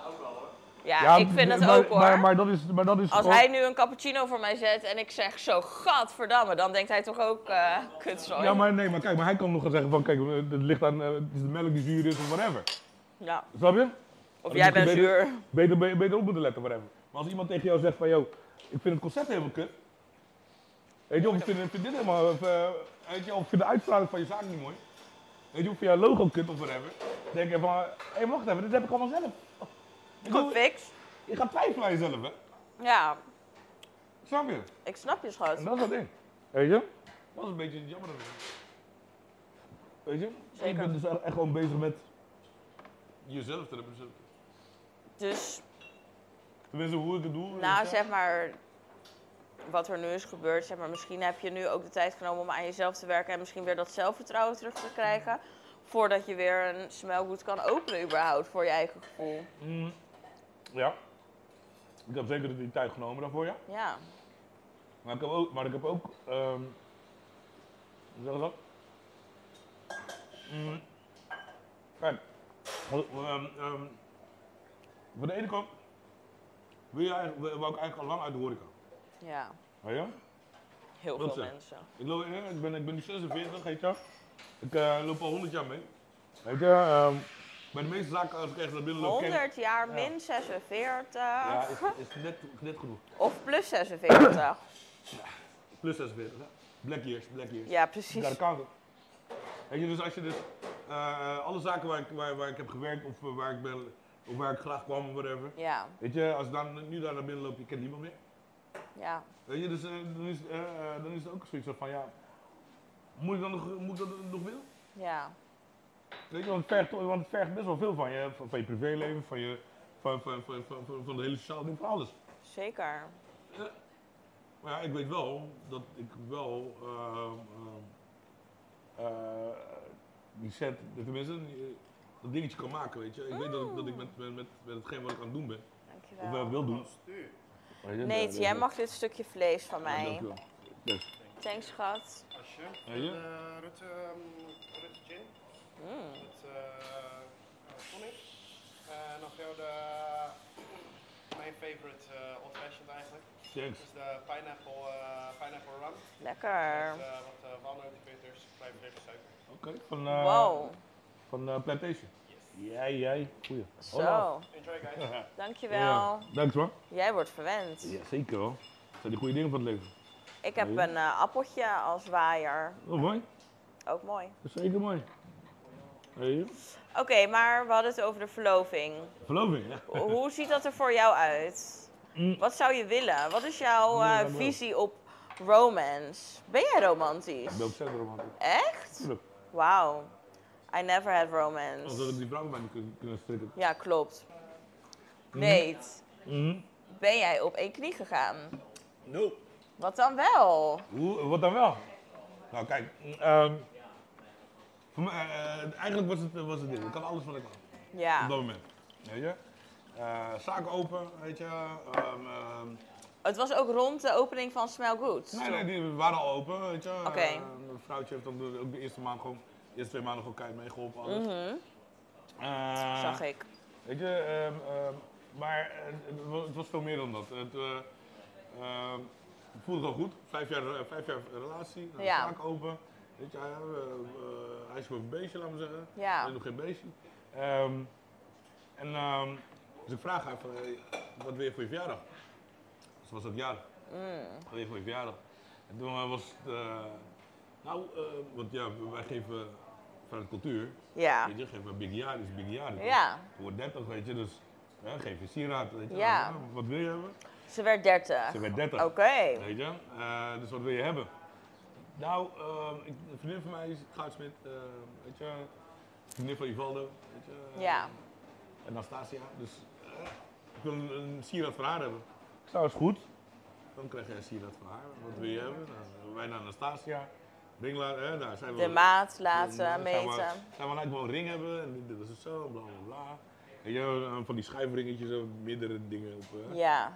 [SPEAKER 1] Ja,
[SPEAKER 2] Ja,
[SPEAKER 1] ik vind het
[SPEAKER 2] maar-
[SPEAKER 1] ook hoor.
[SPEAKER 2] Maar, Oh. maar dat is, maar dat is
[SPEAKER 1] Als
[SPEAKER 2] gewoon-
[SPEAKER 1] hij nu een cappuccino voor mij zet en ik zeg zo, gadverdamme, dan denkt hij toch ook, eh kutzooi.
[SPEAKER 2] Ja, maar nee, maar kijk, maar hij kan nog gaan zeggen van, kijk, eh, het ligt aan, eh, het is de melk die zuur is of whatever.
[SPEAKER 1] Ja.
[SPEAKER 2] Snap je?
[SPEAKER 1] Of
[SPEAKER 2] Dan
[SPEAKER 1] jij
[SPEAKER 2] moet je
[SPEAKER 1] bent
[SPEAKER 2] beter-
[SPEAKER 1] zuur.
[SPEAKER 2] Beter, be- beter op moeten letten, whatever. Maar als iemand tegen jou zegt van, joh, ik vind het concept helemaal kut. Weet je, of ik vind, ik vind dit helemaal, of, eh, weet je, of ik vind de uitstraling van je zaak niet mooi. Weet je, of ik vind jouw logo kut of whatever. Dan denk je van, hé, hey, wacht even, dit heb ik allemaal zelf. Ik,
[SPEAKER 1] Goed
[SPEAKER 2] doe,
[SPEAKER 1] fix.
[SPEAKER 2] je gaat twijfelen aan jezelf, hè.
[SPEAKER 1] Ja,
[SPEAKER 2] Snap je?
[SPEAKER 1] ik snap je
[SPEAKER 2] En
[SPEAKER 1] schat.
[SPEAKER 2] dat is dat ding. Weet je? Dat is een beetje jammer. Weet je? Ik
[SPEAKER 1] Zeker.
[SPEAKER 2] ben dus echt echt gewoon bezig met jezelf te representeren.
[SPEAKER 1] Dus
[SPEAKER 2] Tenminste, hoe ik het doe.
[SPEAKER 1] nou
[SPEAKER 2] weet je.
[SPEAKER 1] zeg maar, wat er nu is gebeurd, zeg maar, misschien heb je nu ook de tijd genomen om aan jezelf te werken en misschien weer dat zelfvertrouwen terug te krijgen. Voordat je weer een smelgoed kan openen überhaupt voor je eigen gevoel.
[SPEAKER 2] Mm. Ja. Ik heb zeker die tijd genomen daarvoor, ja.
[SPEAKER 1] Ja,
[SPEAKER 2] Maar ik heb ook, maar ik heb ook ehm, hoe zeg je dat? Mm. Kijk, wat- ehm, ehm, van de ene kant wil, je eigenlijk, wil- wou ik eigenlijk al lang uit de horeca.
[SPEAKER 1] ja.
[SPEAKER 2] Weet je?
[SPEAKER 1] Heel
[SPEAKER 2] Wat
[SPEAKER 1] veel
[SPEAKER 2] zeg?
[SPEAKER 1] mensen.
[SPEAKER 2] Ik, loop, ja, ik, ben, ik ben nu 46, weet je. Ik eh, loop al 100 jaar mee. Weet je, ehm, bij de meeste zaken als ik echt naar binnen loop... ken-
[SPEAKER 1] 100 jaar
[SPEAKER 2] Ja.
[SPEAKER 1] min 46.
[SPEAKER 2] Ja, is, is net, net genoeg.
[SPEAKER 1] Of plus 46.
[SPEAKER 2] Plus 46, hè. Black years, black years.
[SPEAKER 1] Ja, precies.
[SPEAKER 2] Daar kan het. Weet je, dus als je dus... eh, alle zaken waar ik, waar, waar ik heb gewerkt of eh, waar ik ben... Of waar ik graag kwam of whatever.
[SPEAKER 1] Ja,
[SPEAKER 2] Weet je, als ik dan, nu daar naar binnen loop, je kent niemand meer.
[SPEAKER 1] ja.
[SPEAKER 2] Weet je, dus eh, dan, is, eh, eh, dan is het ook zoiets van, ja... Moet ik, dan nog, moet ik dat nog willen?
[SPEAKER 1] Ja,
[SPEAKER 2] Weet je, want het vergt, want het vergt best wel veel van je, van, van je privéleven, van je, van, van, van, van, van, van de hele sociale ding, van alles.
[SPEAKER 1] zeker.
[SPEAKER 2] Maar ja, ik weet wel dat ik wel ehm, ehm, eh, die set, tenminste, die- dat dingetje kan maken, weet je. Ik weet dat ik, dat ik met, met, met, met hetgeen wat ik aan het doen ben, of wat ik
[SPEAKER 1] Dankjewel.
[SPEAKER 2] wil doen. Weet je,
[SPEAKER 1] Nee,
[SPEAKER 2] dat-
[SPEAKER 1] jij
[SPEAKER 2] dat-
[SPEAKER 1] mag dit stukje vlees van
[SPEAKER 2] ja,
[SPEAKER 1] mij.
[SPEAKER 2] dankjewel. Yes.
[SPEAKER 1] Thanks, schat.
[SPEAKER 4] Alsje.
[SPEAKER 2] Ja, ja.
[SPEAKER 4] Eh, Rutte, ehm, Rutte Gin.
[SPEAKER 1] Mm.
[SPEAKER 4] Met eh, eh, tonic. En dan voor jou de, mijn favorite eh, old fashioned eigenlijk.
[SPEAKER 2] Thanks.
[SPEAKER 4] Dus de pineapple, eh, pineapple rum.
[SPEAKER 1] Lekker.
[SPEAKER 4] Met eh, wat eh walnoten, bitters, klein beetje suiker.
[SPEAKER 2] Oké, van, eh
[SPEAKER 1] Wow.
[SPEAKER 2] van eh, Plantation. Jij, jij, goeie. Hola.
[SPEAKER 1] Zo,
[SPEAKER 4] Enjoy guys.
[SPEAKER 1] dankjewel.
[SPEAKER 2] Thanks man.
[SPEAKER 1] Jij wordt verwend.
[SPEAKER 2] Ja, zeker hoor. Dat zijn die goede dingen van het leven.
[SPEAKER 1] Ik heb
[SPEAKER 2] Ja.
[SPEAKER 1] een eh, appeltje als waaier.
[SPEAKER 2] Oh, mooi.
[SPEAKER 1] Ook mooi.
[SPEAKER 2] Dat is zeker mooi. Weet je?
[SPEAKER 1] Oké, maar we hadden het over de
[SPEAKER 2] <laughs>
[SPEAKER 1] verloving.
[SPEAKER 2] Verloving, ja.
[SPEAKER 1] Hoe ziet dat er voor jou uit?
[SPEAKER 2] Mm.
[SPEAKER 1] Wat zou je willen? Wat is jouw eh,
[SPEAKER 2] Ja, maar-
[SPEAKER 1] visie op romance? Ben jij
[SPEAKER 2] Ik ben ook
[SPEAKER 1] romantisch?
[SPEAKER 2] zelf romantisch.
[SPEAKER 1] Echt?
[SPEAKER 2] Tuurlijk.
[SPEAKER 1] Wauw. I never had
[SPEAKER 2] Anders had ik
[SPEAKER 1] romance.
[SPEAKER 2] die vrouw maar niet kunnen- kunnen strikken.
[SPEAKER 1] Ja, klopt.
[SPEAKER 2] Mm-hmm.
[SPEAKER 1] Weet,
[SPEAKER 2] Mhm.
[SPEAKER 1] ben jij op één knie gegaan?
[SPEAKER 2] No.
[SPEAKER 1] Wat dan wel?
[SPEAKER 2] Hoe, wat dan wel? Nou, kijk. ehm, voor mij, eh, eigenlijk was het, was het dit. Ik kan alles wat ik had. Op
[SPEAKER 1] Ja.
[SPEAKER 2] dat moment. Weet je? Eh, zaak open, weet je. ehm, ehm,
[SPEAKER 1] Het was ook rond de opening van Smell Good.
[SPEAKER 2] nee, nee, die waren al open, weet je.
[SPEAKER 1] Oké.
[SPEAKER 2] Eh, mijn vrouwtje heeft ook de, ook de eerste maand gewoon, de eerste twee maanden gewoon keihard meegeholpen. alles.
[SPEAKER 1] Mhm,
[SPEAKER 2] Eh,
[SPEAKER 1] Zag ik.
[SPEAKER 2] Weet je, ehm, ehm, maar eh, het wa- het was veel meer dan dat. Het, eh, ehm, het voelde wel goed. Vijf jaar, eh, vijf jaar relatie, eh,
[SPEAKER 1] Ja.
[SPEAKER 2] zaak open. Weet je, eh, eh, hij is gewoon een beestje, laten we zeggen. Hij
[SPEAKER 1] Ja.
[SPEAKER 2] is nog geen beestje. Ehm, en ehm, dus ik vraag haar van, hey, wat wil je voor je verjaardag? Dus was dat jaar.
[SPEAKER 1] Mm.
[SPEAKER 2] Wat wil je voor je verjaardag? En toen eh, was het, eh, nou, eh, want ja, wij geven vanuit cultuur,
[SPEAKER 1] Ja.
[SPEAKER 2] weet je, geven we big jaar, is big jaar.
[SPEAKER 1] Ja.
[SPEAKER 2] Je wordt 30, weet je, dus hè, geef je sieraad. Weet je,
[SPEAKER 1] Ja.
[SPEAKER 2] Nou, wat wil je hebben?
[SPEAKER 1] Ze werd 30.
[SPEAKER 2] Ze werd 30.
[SPEAKER 1] Oké.
[SPEAKER 2] Weet je? Eh, dus wat wil je hebben? Nou, ehm, ik, een vriendin van mij is goudsmit, eh, weet je, een vriendin van Ivaldo, weet je.
[SPEAKER 1] Ja.
[SPEAKER 2] En Anastasia, dus eh, ik wil een, een sieraad voor haar hebben. Ik zou Nou, is goed. Dan krijg jij een sieraad voor haar. Wat wil je hebben? Nou, wij naar Anastasia, ringlaar, hè, daar zijn we.
[SPEAKER 1] De maat
[SPEAKER 2] Ja,
[SPEAKER 1] laten
[SPEAKER 2] Zou maar,
[SPEAKER 1] meten.
[SPEAKER 2] zou maar gewoon een ring hebben en dit- dit is het zo, bla bla bla. En je, eh, van die schuifringetjes en meerdere dingen op. eh.
[SPEAKER 1] Ja. Mm.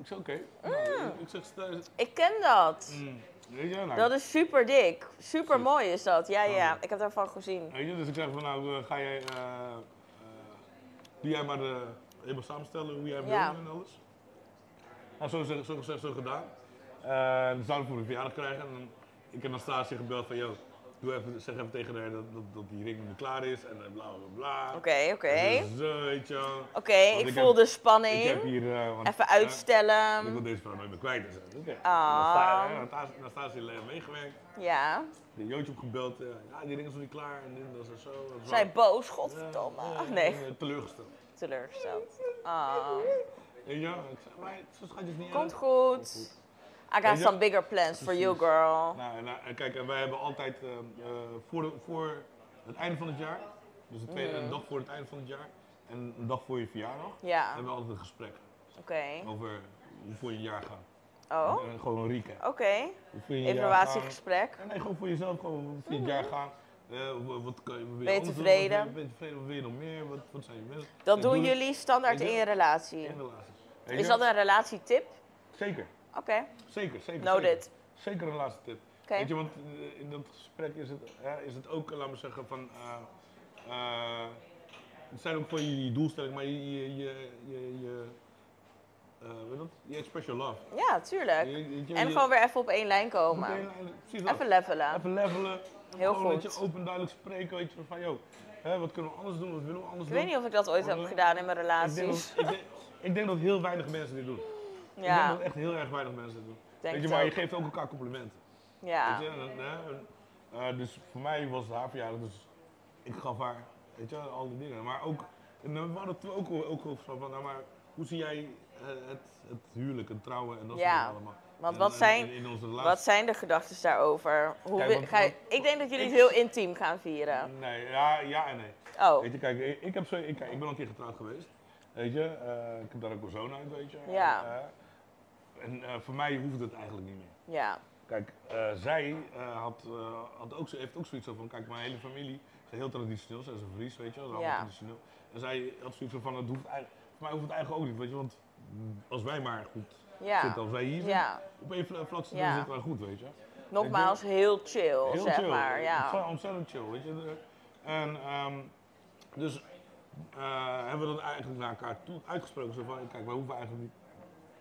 [SPEAKER 2] Ik zei oké. Nou, ik- ik zeg stel-
[SPEAKER 1] Ik ken dat.
[SPEAKER 2] mm, Weet je, nou,
[SPEAKER 1] Dat is super dik. Super mooi is dat. Ja, ja.
[SPEAKER 2] Ja.
[SPEAKER 1] Ik heb daarvan gezien.
[SPEAKER 2] weet je, dus ik zeg van nou eh, ga jij, eh eh, doe jij maar de, helemaal samenstellen hoe jij wil
[SPEAKER 1] Ja.
[SPEAKER 2] en alles. Nou, zo, zeg- zo gezegd, zo gedaan. Eh dus zouden we voor de verjaardag krijgen. En dan- ik heb Anastasia gebeld van joh, doe even, zeg even tegen haar dat, dat, dat die ring nu klaar is en eh, bla bla bla.
[SPEAKER 1] Oké,
[SPEAKER 2] En
[SPEAKER 1] oké.
[SPEAKER 2] dit is Zo, weet je wel.
[SPEAKER 1] Oké,
[SPEAKER 2] dus- Want
[SPEAKER 1] ik
[SPEAKER 2] ik
[SPEAKER 1] voel
[SPEAKER 2] heb-
[SPEAKER 1] de
[SPEAKER 2] Ik heb
[SPEAKER 1] spanning.
[SPEAKER 2] hier. eh,
[SPEAKER 1] Even
[SPEAKER 2] want, eh, ik wil
[SPEAKER 1] uitstellen.
[SPEAKER 2] deze vrouw nooit meer kwijt. Dus, eh, oké.
[SPEAKER 1] Ah.
[SPEAKER 2] En dan sta- eh, Dan staan ze alleen meegewerkt.
[SPEAKER 1] Ja.
[SPEAKER 2] De Jootje opgebeld. eh, ja, die ring is nog niet klaar. En dit, dat is er zo. Dat is
[SPEAKER 1] Zij
[SPEAKER 2] wel-
[SPEAKER 1] boos,
[SPEAKER 2] Ja,
[SPEAKER 1] godverdomme.
[SPEAKER 2] ja,
[SPEAKER 1] Ach,
[SPEAKER 2] ja,
[SPEAKER 1] nee,
[SPEAKER 2] ik ben, eh, teleurgesteld.
[SPEAKER 1] teleurgesteld. Ah.
[SPEAKER 2] Weet je wel? Ik zei, maar zo schatjes niet
[SPEAKER 1] Komt
[SPEAKER 2] uit.
[SPEAKER 1] goed. I got some bigger plans for you, girl.
[SPEAKER 2] Nou, en, eh, en kijk, en wij hebben altijd eh, eh, voor, de- voor het einde van het jaar. Dus een, tweede,
[SPEAKER 1] Mm.
[SPEAKER 2] een dag voor het einde van het jaar. En een dag voor je verjaardag.
[SPEAKER 1] Ja,
[SPEAKER 2] Hebben we altijd een gesprek
[SPEAKER 1] oké.
[SPEAKER 2] over hoe voor je jaar gaat.
[SPEAKER 1] Oh,
[SPEAKER 2] En, eh, gewoon een recap.
[SPEAKER 1] oké.
[SPEAKER 2] Hoe voor je jaar gaat.
[SPEAKER 1] Evaluatiegesprek.
[SPEAKER 2] Ja, nee, gewoon voor jezelf, gewoon hoe vind je het jaar gaan. Eh, wa- wat kan je, wat
[SPEAKER 1] Mhm.
[SPEAKER 2] wil
[SPEAKER 1] Ben je
[SPEAKER 2] anders doen?
[SPEAKER 1] tevreden?
[SPEAKER 2] Wat wil je- Ben je tevreden? Wat wil je nog meer? Wat, wat zijn je wensen?
[SPEAKER 1] Dat
[SPEAKER 2] En
[SPEAKER 1] doen
[SPEAKER 2] doe het
[SPEAKER 1] jullie standaard
[SPEAKER 2] Weet
[SPEAKER 1] in
[SPEAKER 2] je?
[SPEAKER 1] je relatie.
[SPEAKER 2] in de relaties. Weet
[SPEAKER 1] Is
[SPEAKER 2] je?
[SPEAKER 1] dat een relatietip?
[SPEAKER 2] Zeker,
[SPEAKER 1] Oké,
[SPEAKER 2] zeker, zeker. zeker.
[SPEAKER 1] noted.
[SPEAKER 2] Zeker een laatste tip.
[SPEAKER 1] Oké.
[SPEAKER 2] Weet je, want eh, in dat gesprek is het, hè, is het ook, laten we zeggen, van... eh, eh, het zijn ook voor je doelstelling, maar je... je, je, je, je eh, hoe heet dat? Je express your love.
[SPEAKER 1] Ja, tuurlijk.
[SPEAKER 2] Je- je- je-
[SPEAKER 1] En gewoon weer even op één lijn
[SPEAKER 2] je- eh,
[SPEAKER 1] komen.
[SPEAKER 2] Precies dat.
[SPEAKER 1] Even levelen.
[SPEAKER 2] Even levelen.
[SPEAKER 1] Heel
[SPEAKER 2] Gewoon
[SPEAKER 1] goed.
[SPEAKER 2] dat je open en duidelijk spreken, weet je, van joh, hè, wat kunnen we anders doen, wat willen we anders
[SPEAKER 1] Ik
[SPEAKER 2] doen.
[SPEAKER 1] weet niet of ik dat ooit heb gedaan in mijn
[SPEAKER 2] Oh, ik, denk
[SPEAKER 1] relaties.
[SPEAKER 2] dat, ik, denk, ik denk dat heel weinig mensen dit doen. Ik denk
[SPEAKER 1] Ja,
[SPEAKER 2] dat echt heel erg weinig mensen dit doen.
[SPEAKER 1] denk
[SPEAKER 2] weet je,
[SPEAKER 1] het
[SPEAKER 2] maar je
[SPEAKER 1] ook.
[SPEAKER 2] geeft ook elkaar complimenten.
[SPEAKER 1] Ja,
[SPEAKER 2] Weet je, en, hè, en, eh, dus voor mij was het haar verjaardag, dus ik gaf haar, weet je, al die dingen. Maar ook, en dan waren we ook, ook over van, nou maar, hoe zie jij eh, het, het huwelijk, het trouwen en dat
[SPEAKER 1] Ja.
[SPEAKER 2] soort dingen allemaal.
[SPEAKER 1] want
[SPEAKER 2] En-
[SPEAKER 1] wat
[SPEAKER 2] en-
[SPEAKER 1] zijn,
[SPEAKER 2] in, in onze
[SPEAKER 1] wat
[SPEAKER 2] relatie.
[SPEAKER 1] zijn de gedachten daarover? Hoe
[SPEAKER 2] Kijk,
[SPEAKER 1] wi-
[SPEAKER 2] want-
[SPEAKER 1] ga je-
[SPEAKER 2] want-
[SPEAKER 1] ik denk dat jullie het
[SPEAKER 2] ik-
[SPEAKER 1] heel intiem gaan vieren.
[SPEAKER 2] Nee, ja, ja en nee.
[SPEAKER 1] Oh,
[SPEAKER 2] Weet je, kijk, ik, ik heb zo, ik, kijk, ik ben al een keer getrouwd geweest. Weet je, eh, ik heb daar ook een zoon uit, weet je.
[SPEAKER 1] Ja.
[SPEAKER 2] En, eh, en eh, voor mij hoeft het eigenlijk niet meer.
[SPEAKER 1] ja.
[SPEAKER 2] Kijk, eh, zij eh, had, eh, had ook, zo- heeft ook zoiets van, kijk, mijn hele familie is heel traditioneel. Zij is een Vries, weet je, dat is allemaal
[SPEAKER 1] Ja.
[SPEAKER 2] traditioneel. En zij had zoiets van, het hoeft eigenlijk, voor mij hoeft het eigenlijk ook niet, weet je. Want mm, als wij maar goed
[SPEAKER 1] Ja,
[SPEAKER 2] zitten, als wij hier zitten,
[SPEAKER 1] ja.
[SPEAKER 2] op één vla- vlak zitten,
[SPEAKER 1] Ja.
[SPEAKER 2] dan zitten wij goed, weet je.
[SPEAKER 1] Nogmaals, heel chill,
[SPEAKER 2] Heel
[SPEAKER 1] zeg
[SPEAKER 2] chill.
[SPEAKER 1] maar. Ja.
[SPEAKER 2] Ontzettend, ontzettend chill, weet je. De- En ehm, dus eh, hebben we dat eigenlijk naar elkaar toe uitgesproken. Zo van, kijk, wij hoeven eigenlijk niet,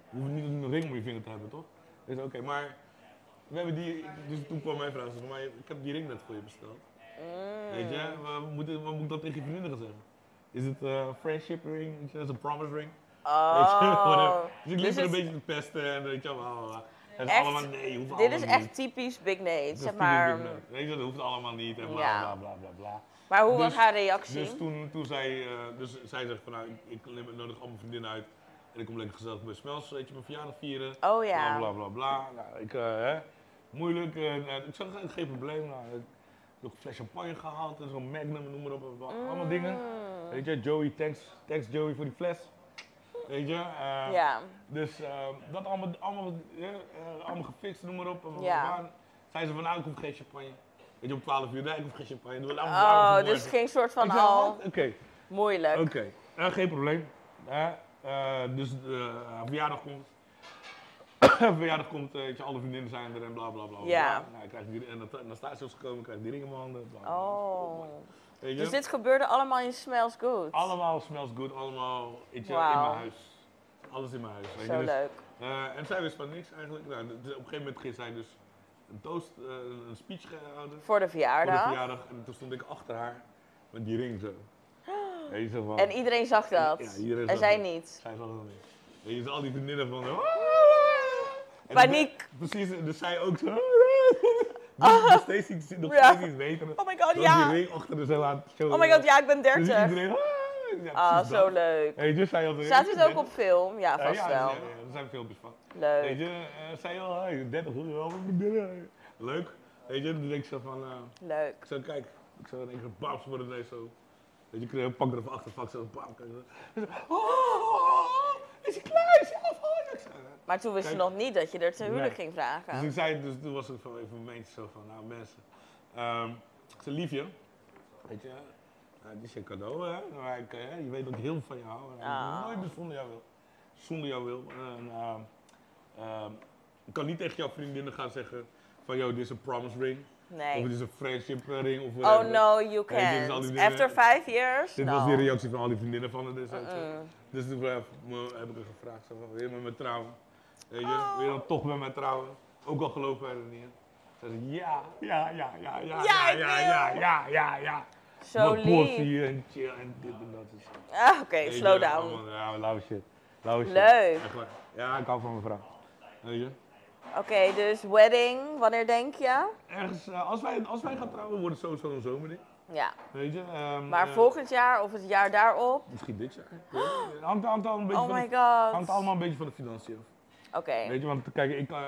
[SPEAKER 2] we hoeven niet een ring om je vinger te hebben, toch? Dus oké, maar we hebben die, dus toen kwam mijn vraag, zo van, maar ik heb die ring net voor je besteld. Weet je,
[SPEAKER 1] Mm.
[SPEAKER 2] we moeten, wat moet ik dat tegen je vriendinnen gaan zeggen? Is het een friendship ring? Weet je, Is het een promise ring? Weet je,
[SPEAKER 1] Oh,
[SPEAKER 2] whatever. dus ik liep
[SPEAKER 1] Dus
[SPEAKER 2] er een
[SPEAKER 1] het-
[SPEAKER 2] beetje te pesten en weet je, bla, bla, bla. En ze
[SPEAKER 1] Echt?
[SPEAKER 2] allemaal, nee,
[SPEAKER 1] <laughs>
[SPEAKER 2] hoeft
[SPEAKER 1] dit
[SPEAKER 2] allemaal
[SPEAKER 1] is
[SPEAKER 2] niet.
[SPEAKER 1] echt typisch Big Nate,
[SPEAKER 2] Dat is
[SPEAKER 1] zeg maar.
[SPEAKER 2] typisch Big Brother. Weet je, dat hoeft allemaal niet en bla
[SPEAKER 1] Ja.
[SPEAKER 2] bla bla bla bla.
[SPEAKER 1] Maar hoe was
[SPEAKER 2] Dus-
[SPEAKER 1] haar reactie?
[SPEAKER 2] Dus toen, toen zei, eh, dus zij zegt van nou, ik, ik neem- nodig al mijn vriendinnen uit en ik kom lekker gezellig bij Smels, weet je, mijn verjaardag vieren.
[SPEAKER 1] oh ja.
[SPEAKER 2] Bla bla bla bla. Nou, ik, eh, hè, moeilijk. eh, nou, ik zag eh, geen probleem. Nou, ik heb nog een fles champagne gehaald en zo'n Magnum, noem maar op. eh, Allemaal
[SPEAKER 1] Mm.
[SPEAKER 2] dingen. Weet je, Joey, thanks, thanks Joey voor die fles. Weet je, eh,
[SPEAKER 1] Ja. Oh,
[SPEAKER 2] dus eh, dat allemaal, allemaal, eh, eh, allemaal gefixt, noem maar op. en
[SPEAKER 1] Ja.
[SPEAKER 2] waar- Zijn ze van nou, ik hoef geen champagne. Weet je, om 12 uur, nee, ik hoef geen champagne. Doe het allemaal
[SPEAKER 1] Oh,
[SPEAKER 2] vanmorgen.
[SPEAKER 1] dus geen soort van
[SPEAKER 2] Ik zei,
[SPEAKER 1] al
[SPEAKER 2] wat? Oké,
[SPEAKER 1] moeilijk.
[SPEAKER 2] Oké, Eh, geen probleem. Eh, eh, dus eh, haar verjaardag komt. <coughs> Haar verjaardag komt, eh, weet je, alle vriendinnen zijn er en bla bla bla. bla.
[SPEAKER 1] Ja.
[SPEAKER 2] Nou, ik krijg die, en dan- dan staat ze gekomen, krijg ik die ring in mijn handen. Bla, bla, bla.
[SPEAKER 1] Oh.
[SPEAKER 2] Weet je?
[SPEAKER 1] Dus dit gebeurde allemaal in Smells Good.
[SPEAKER 2] Allemaal smells good, allemaal weet je, in
[SPEAKER 1] Wauw.
[SPEAKER 2] mijn huis. Alles in mijn huis. Weet je?
[SPEAKER 1] Zo
[SPEAKER 2] Dus,
[SPEAKER 1] leuk.
[SPEAKER 2] eh, en zij wist van niks eigenlijk. Nou, dus op een gegeven moment ging zij dus een toast, eh, een speech gehouden.
[SPEAKER 1] Voor de
[SPEAKER 2] Voor de
[SPEAKER 1] verjaardag.
[SPEAKER 2] verjaardag. En toen stond ik achter haar met die ring zo. <gasps> Weet je, zo van,
[SPEAKER 1] En iedereen zag dat.
[SPEAKER 2] Ja, iedereen
[SPEAKER 1] en
[SPEAKER 2] zag
[SPEAKER 1] zij
[SPEAKER 2] dat.
[SPEAKER 1] niet.
[SPEAKER 2] Zij zal het niet. Weet je, dus al die vriendinnen van... En
[SPEAKER 1] Paniek.
[SPEAKER 2] dan- precies, dus zij ook zo...
[SPEAKER 1] <laughs>
[SPEAKER 2] Nog nog steeds iets, nog
[SPEAKER 1] Ja.
[SPEAKER 2] steeds iets beter.
[SPEAKER 1] Oh my god,
[SPEAKER 2] Dan
[SPEAKER 1] ja.
[SPEAKER 2] die ring achter de zo aan het showen
[SPEAKER 1] Oh my god,
[SPEAKER 2] was.
[SPEAKER 1] ja, ik ben
[SPEAKER 2] Dus
[SPEAKER 1] 30.
[SPEAKER 2] iedereen... "Ah." Ja,
[SPEAKER 1] Ah,
[SPEAKER 2] precies
[SPEAKER 1] zo
[SPEAKER 2] dat.
[SPEAKER 1] leuk.
[SPEAKER 2] Weet je, dus zij had een
[SPEAKER 1] Staat
[SPEAKER 2] ring.
[SPEAKER 1] dit ook op film? Ja,
[SPEAKER 2] Eh,
[SPEAKER 1] vast
[SPEAKER 2] ja,
[SPEAKER 1] wel.
[SPEAKER 2] Ja, ja, er zijn filmpjes van. Weet
[SPEAKER 1] Leuk.
[SPEAKER 2] je, eh, zij al, hey, 30 uur, oh, allemaal vriendinnen. Leuk. Weet je, dan denk ik zo van... eh,
[SPEAKER 1] Leuk.
[SPEAKER 2] ik zo, kijk, ik zo in één keer babs worden ineens zo. Weet je, ik kreeg een pak ervan achter, pak zo, bam, kijk zo. En zo, oh, oh, oh, is hij klaar, is hij af, oh, ik zo, hè.
[SPEAKER 1] Maar toen wist je
[SPEAKER 2] Kijk.
[SPEAKER 1] nog niet dat je er te huwelijk
[SPEAKER 2] Nee.
[SPEAKER 1] ging
[SPEAKER 2] Dus
[SPEAKER 1] vragen.
[SPEAKER 2] ik zei, dus toen was ik van even een momentje zo van, nou mensen, ehm, ik zei, liefje, weet je, eh, dit is je cadeau, hè, maar ik, eh, je weet dat ik heel veel van je hou, en dat
[SPEAKER 1] Ah.
[SPEAKER 2] ik nooit meer zonder jou wil. Zonder jou wil. En, ehm, ehm, ik kan niet tegen jouw vriendinnen gaan zeggen van, yo, dit is een promise ring, of
[SPEAKER 1] Nee.
[SPEAKER 2] dit is een friendship eh, ring, of
[SPEAKER 1] Oh
[SPEAKER 2] whatever.
[SPEAKER 1] no, you
[SPEAKER 2] Hey, dit is al
[SPEAKER 1] can't.
[SPEAKER 2] die dingen-
[SPEAKER 1] After five years?
[SPEAKER 2] Dit was die
[SPEAKER 1] No. Hmm.
[SPEAKER 2] reactie van al die vriendinnen van het. Dus,
[SPEAKER 1] Mm-mm.
[SPEAKER 2] dus toen heb ik me- heb ik haar gevraagd, zo van, wil je met me trouwen? Weet je,
[SPEAKER 1] Oh.
[SPEAKER 2] wil je dan toch met me trouwen? Ook al geloven wij er niet in. Ze zei, ja, ja, ja, ja, ja,
[SPEAKER 1] Ja, ik
[SPEAKER 2] ja,
[SPEAKER 1] wil.
[SPEAKER 2] ja, ja, ja, ja.
[SPEAKER 1] Zo
[SPEAKER 2] Wat kost
[SPEAKER 1] lief.
[SPEAKER 2] hier en chill en dit en dat. en zo.
[SPEAKER 1] Ah, Oké,
[SPEAKER 2] Weet je,
[SPEAKER 1] slow down.
[SPEAKER 2] allemaal- Ja, lauwe shit. Lauwe shit.
[SPEAKER 1] Leuk.
[SPEAKER 2] Echt waar. Ja, ik hou van mijn vrouw. Weet je.
[SPEAKER 1] Oké, dus wedding, wanneer denk je?
[SPEAKER 2] Ergens, eh, als, wij, als wij gaan trouwen, wordt het sowieso een zomerding.
[SPEAKER 1] Ja,
[SPEAKER 2] Weet je. ehm,
[SPEAKER 1] maar
[SPEAKER 2] eh,
[SPEAKER 1] volgend jaar of het jaar daarop?
[SPEAKER 2] Misschien dit jaar. ik weet het niet. Hangt, hangt, al een beetje
[SPEAKER 1] Oh
[SPEAKER 2] van de-
[SPEAKER 1] my god.
[SPEAKER 2] hangt allemaal een beetje van de financiën af.
[SPEAKER 1] Oké,
[SPEAKER 2] Weet je, want kijk, ik, eh,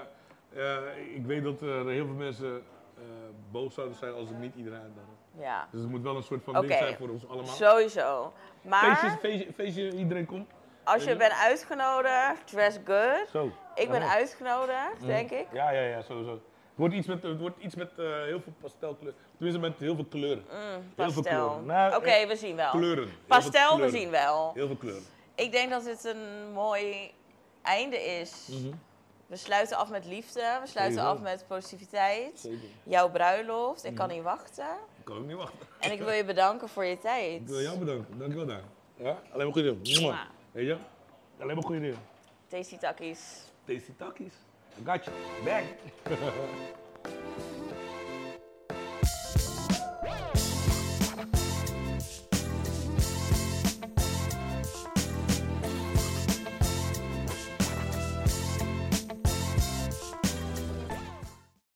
[SPEAKER 2] eh, ik weet dat er heel veel mensen eh, boos zouden zijn als ik niet iedereen uitnodig.
[SPEAKER 1] ja.
[SPEAKER 2] Dus het moet wel een soort van
[SPEAKER 1] Oké.
[SPEAKER 2] ding zijn voor ons allemaal.
[SPEAKER 1] Sowieso.
[SPEAKER 2] Feestje,
[SPEAKER 1] Maar
[SPEAKER 2] feestje, feestje, iedereen komt.
[SPEAKER 1] als je bent uitgenodigd, dress good.
[SPEAKER 2] Zo.
[SPEAKER 1] Ik ben
[SPEAKER 2] Ja.
[SPEAKER 1] uitgenodigd, denk ik.
[SPEAKER 2] Ja, ja, ja, sowieso. Het wordt iets met, het wordt iets met eh, heel veel pastelkleuren. Tenminste, met heel veel kleuren.
[SPEAKER 1] Mm,
[SPEAKER 2] Heel veel
[SPEAKER 1] pastel.
[SPEAKER 2] kleuren. Nou,
[SPEAKER 1] Oké, we zien wel.
[SPEAKER 2] Kleuren. Heel veel
[SPEAKER 1] Pastel, we
[SPEAKER 2] kleuren.
[SPEAKER 1] zien wel.
[SPEAKER 2] Heel veel kleuren.
[SPEAKER 1] Ik denk dat dit een mooi einde is. We sluiten af met liefde, we sluiten
[SPEAKER 2] Mhm. Sowieso.
[SPEAKER 1] af met positiviteit.
[SPEAKER 2] Zeker.
[SPEAKER 1] Jouw bruiloft, ik kan niet wachten.
[SPEAKER 2] Mhm. Ik kan ook niet wachten.
[SPEAKER 1] En ik wil je bedanken voor je tijd.
[SPEAKER 2] Ik wil jou bedanken. Dankjewel daar. Ja? Alleen maar goede dingen. Mwah. Weet je? Alleen maar goede dingen.
[SPEAKER 1] Tasty takkies.
[SPEAKER 2] Tasty takkies. I got you. Back.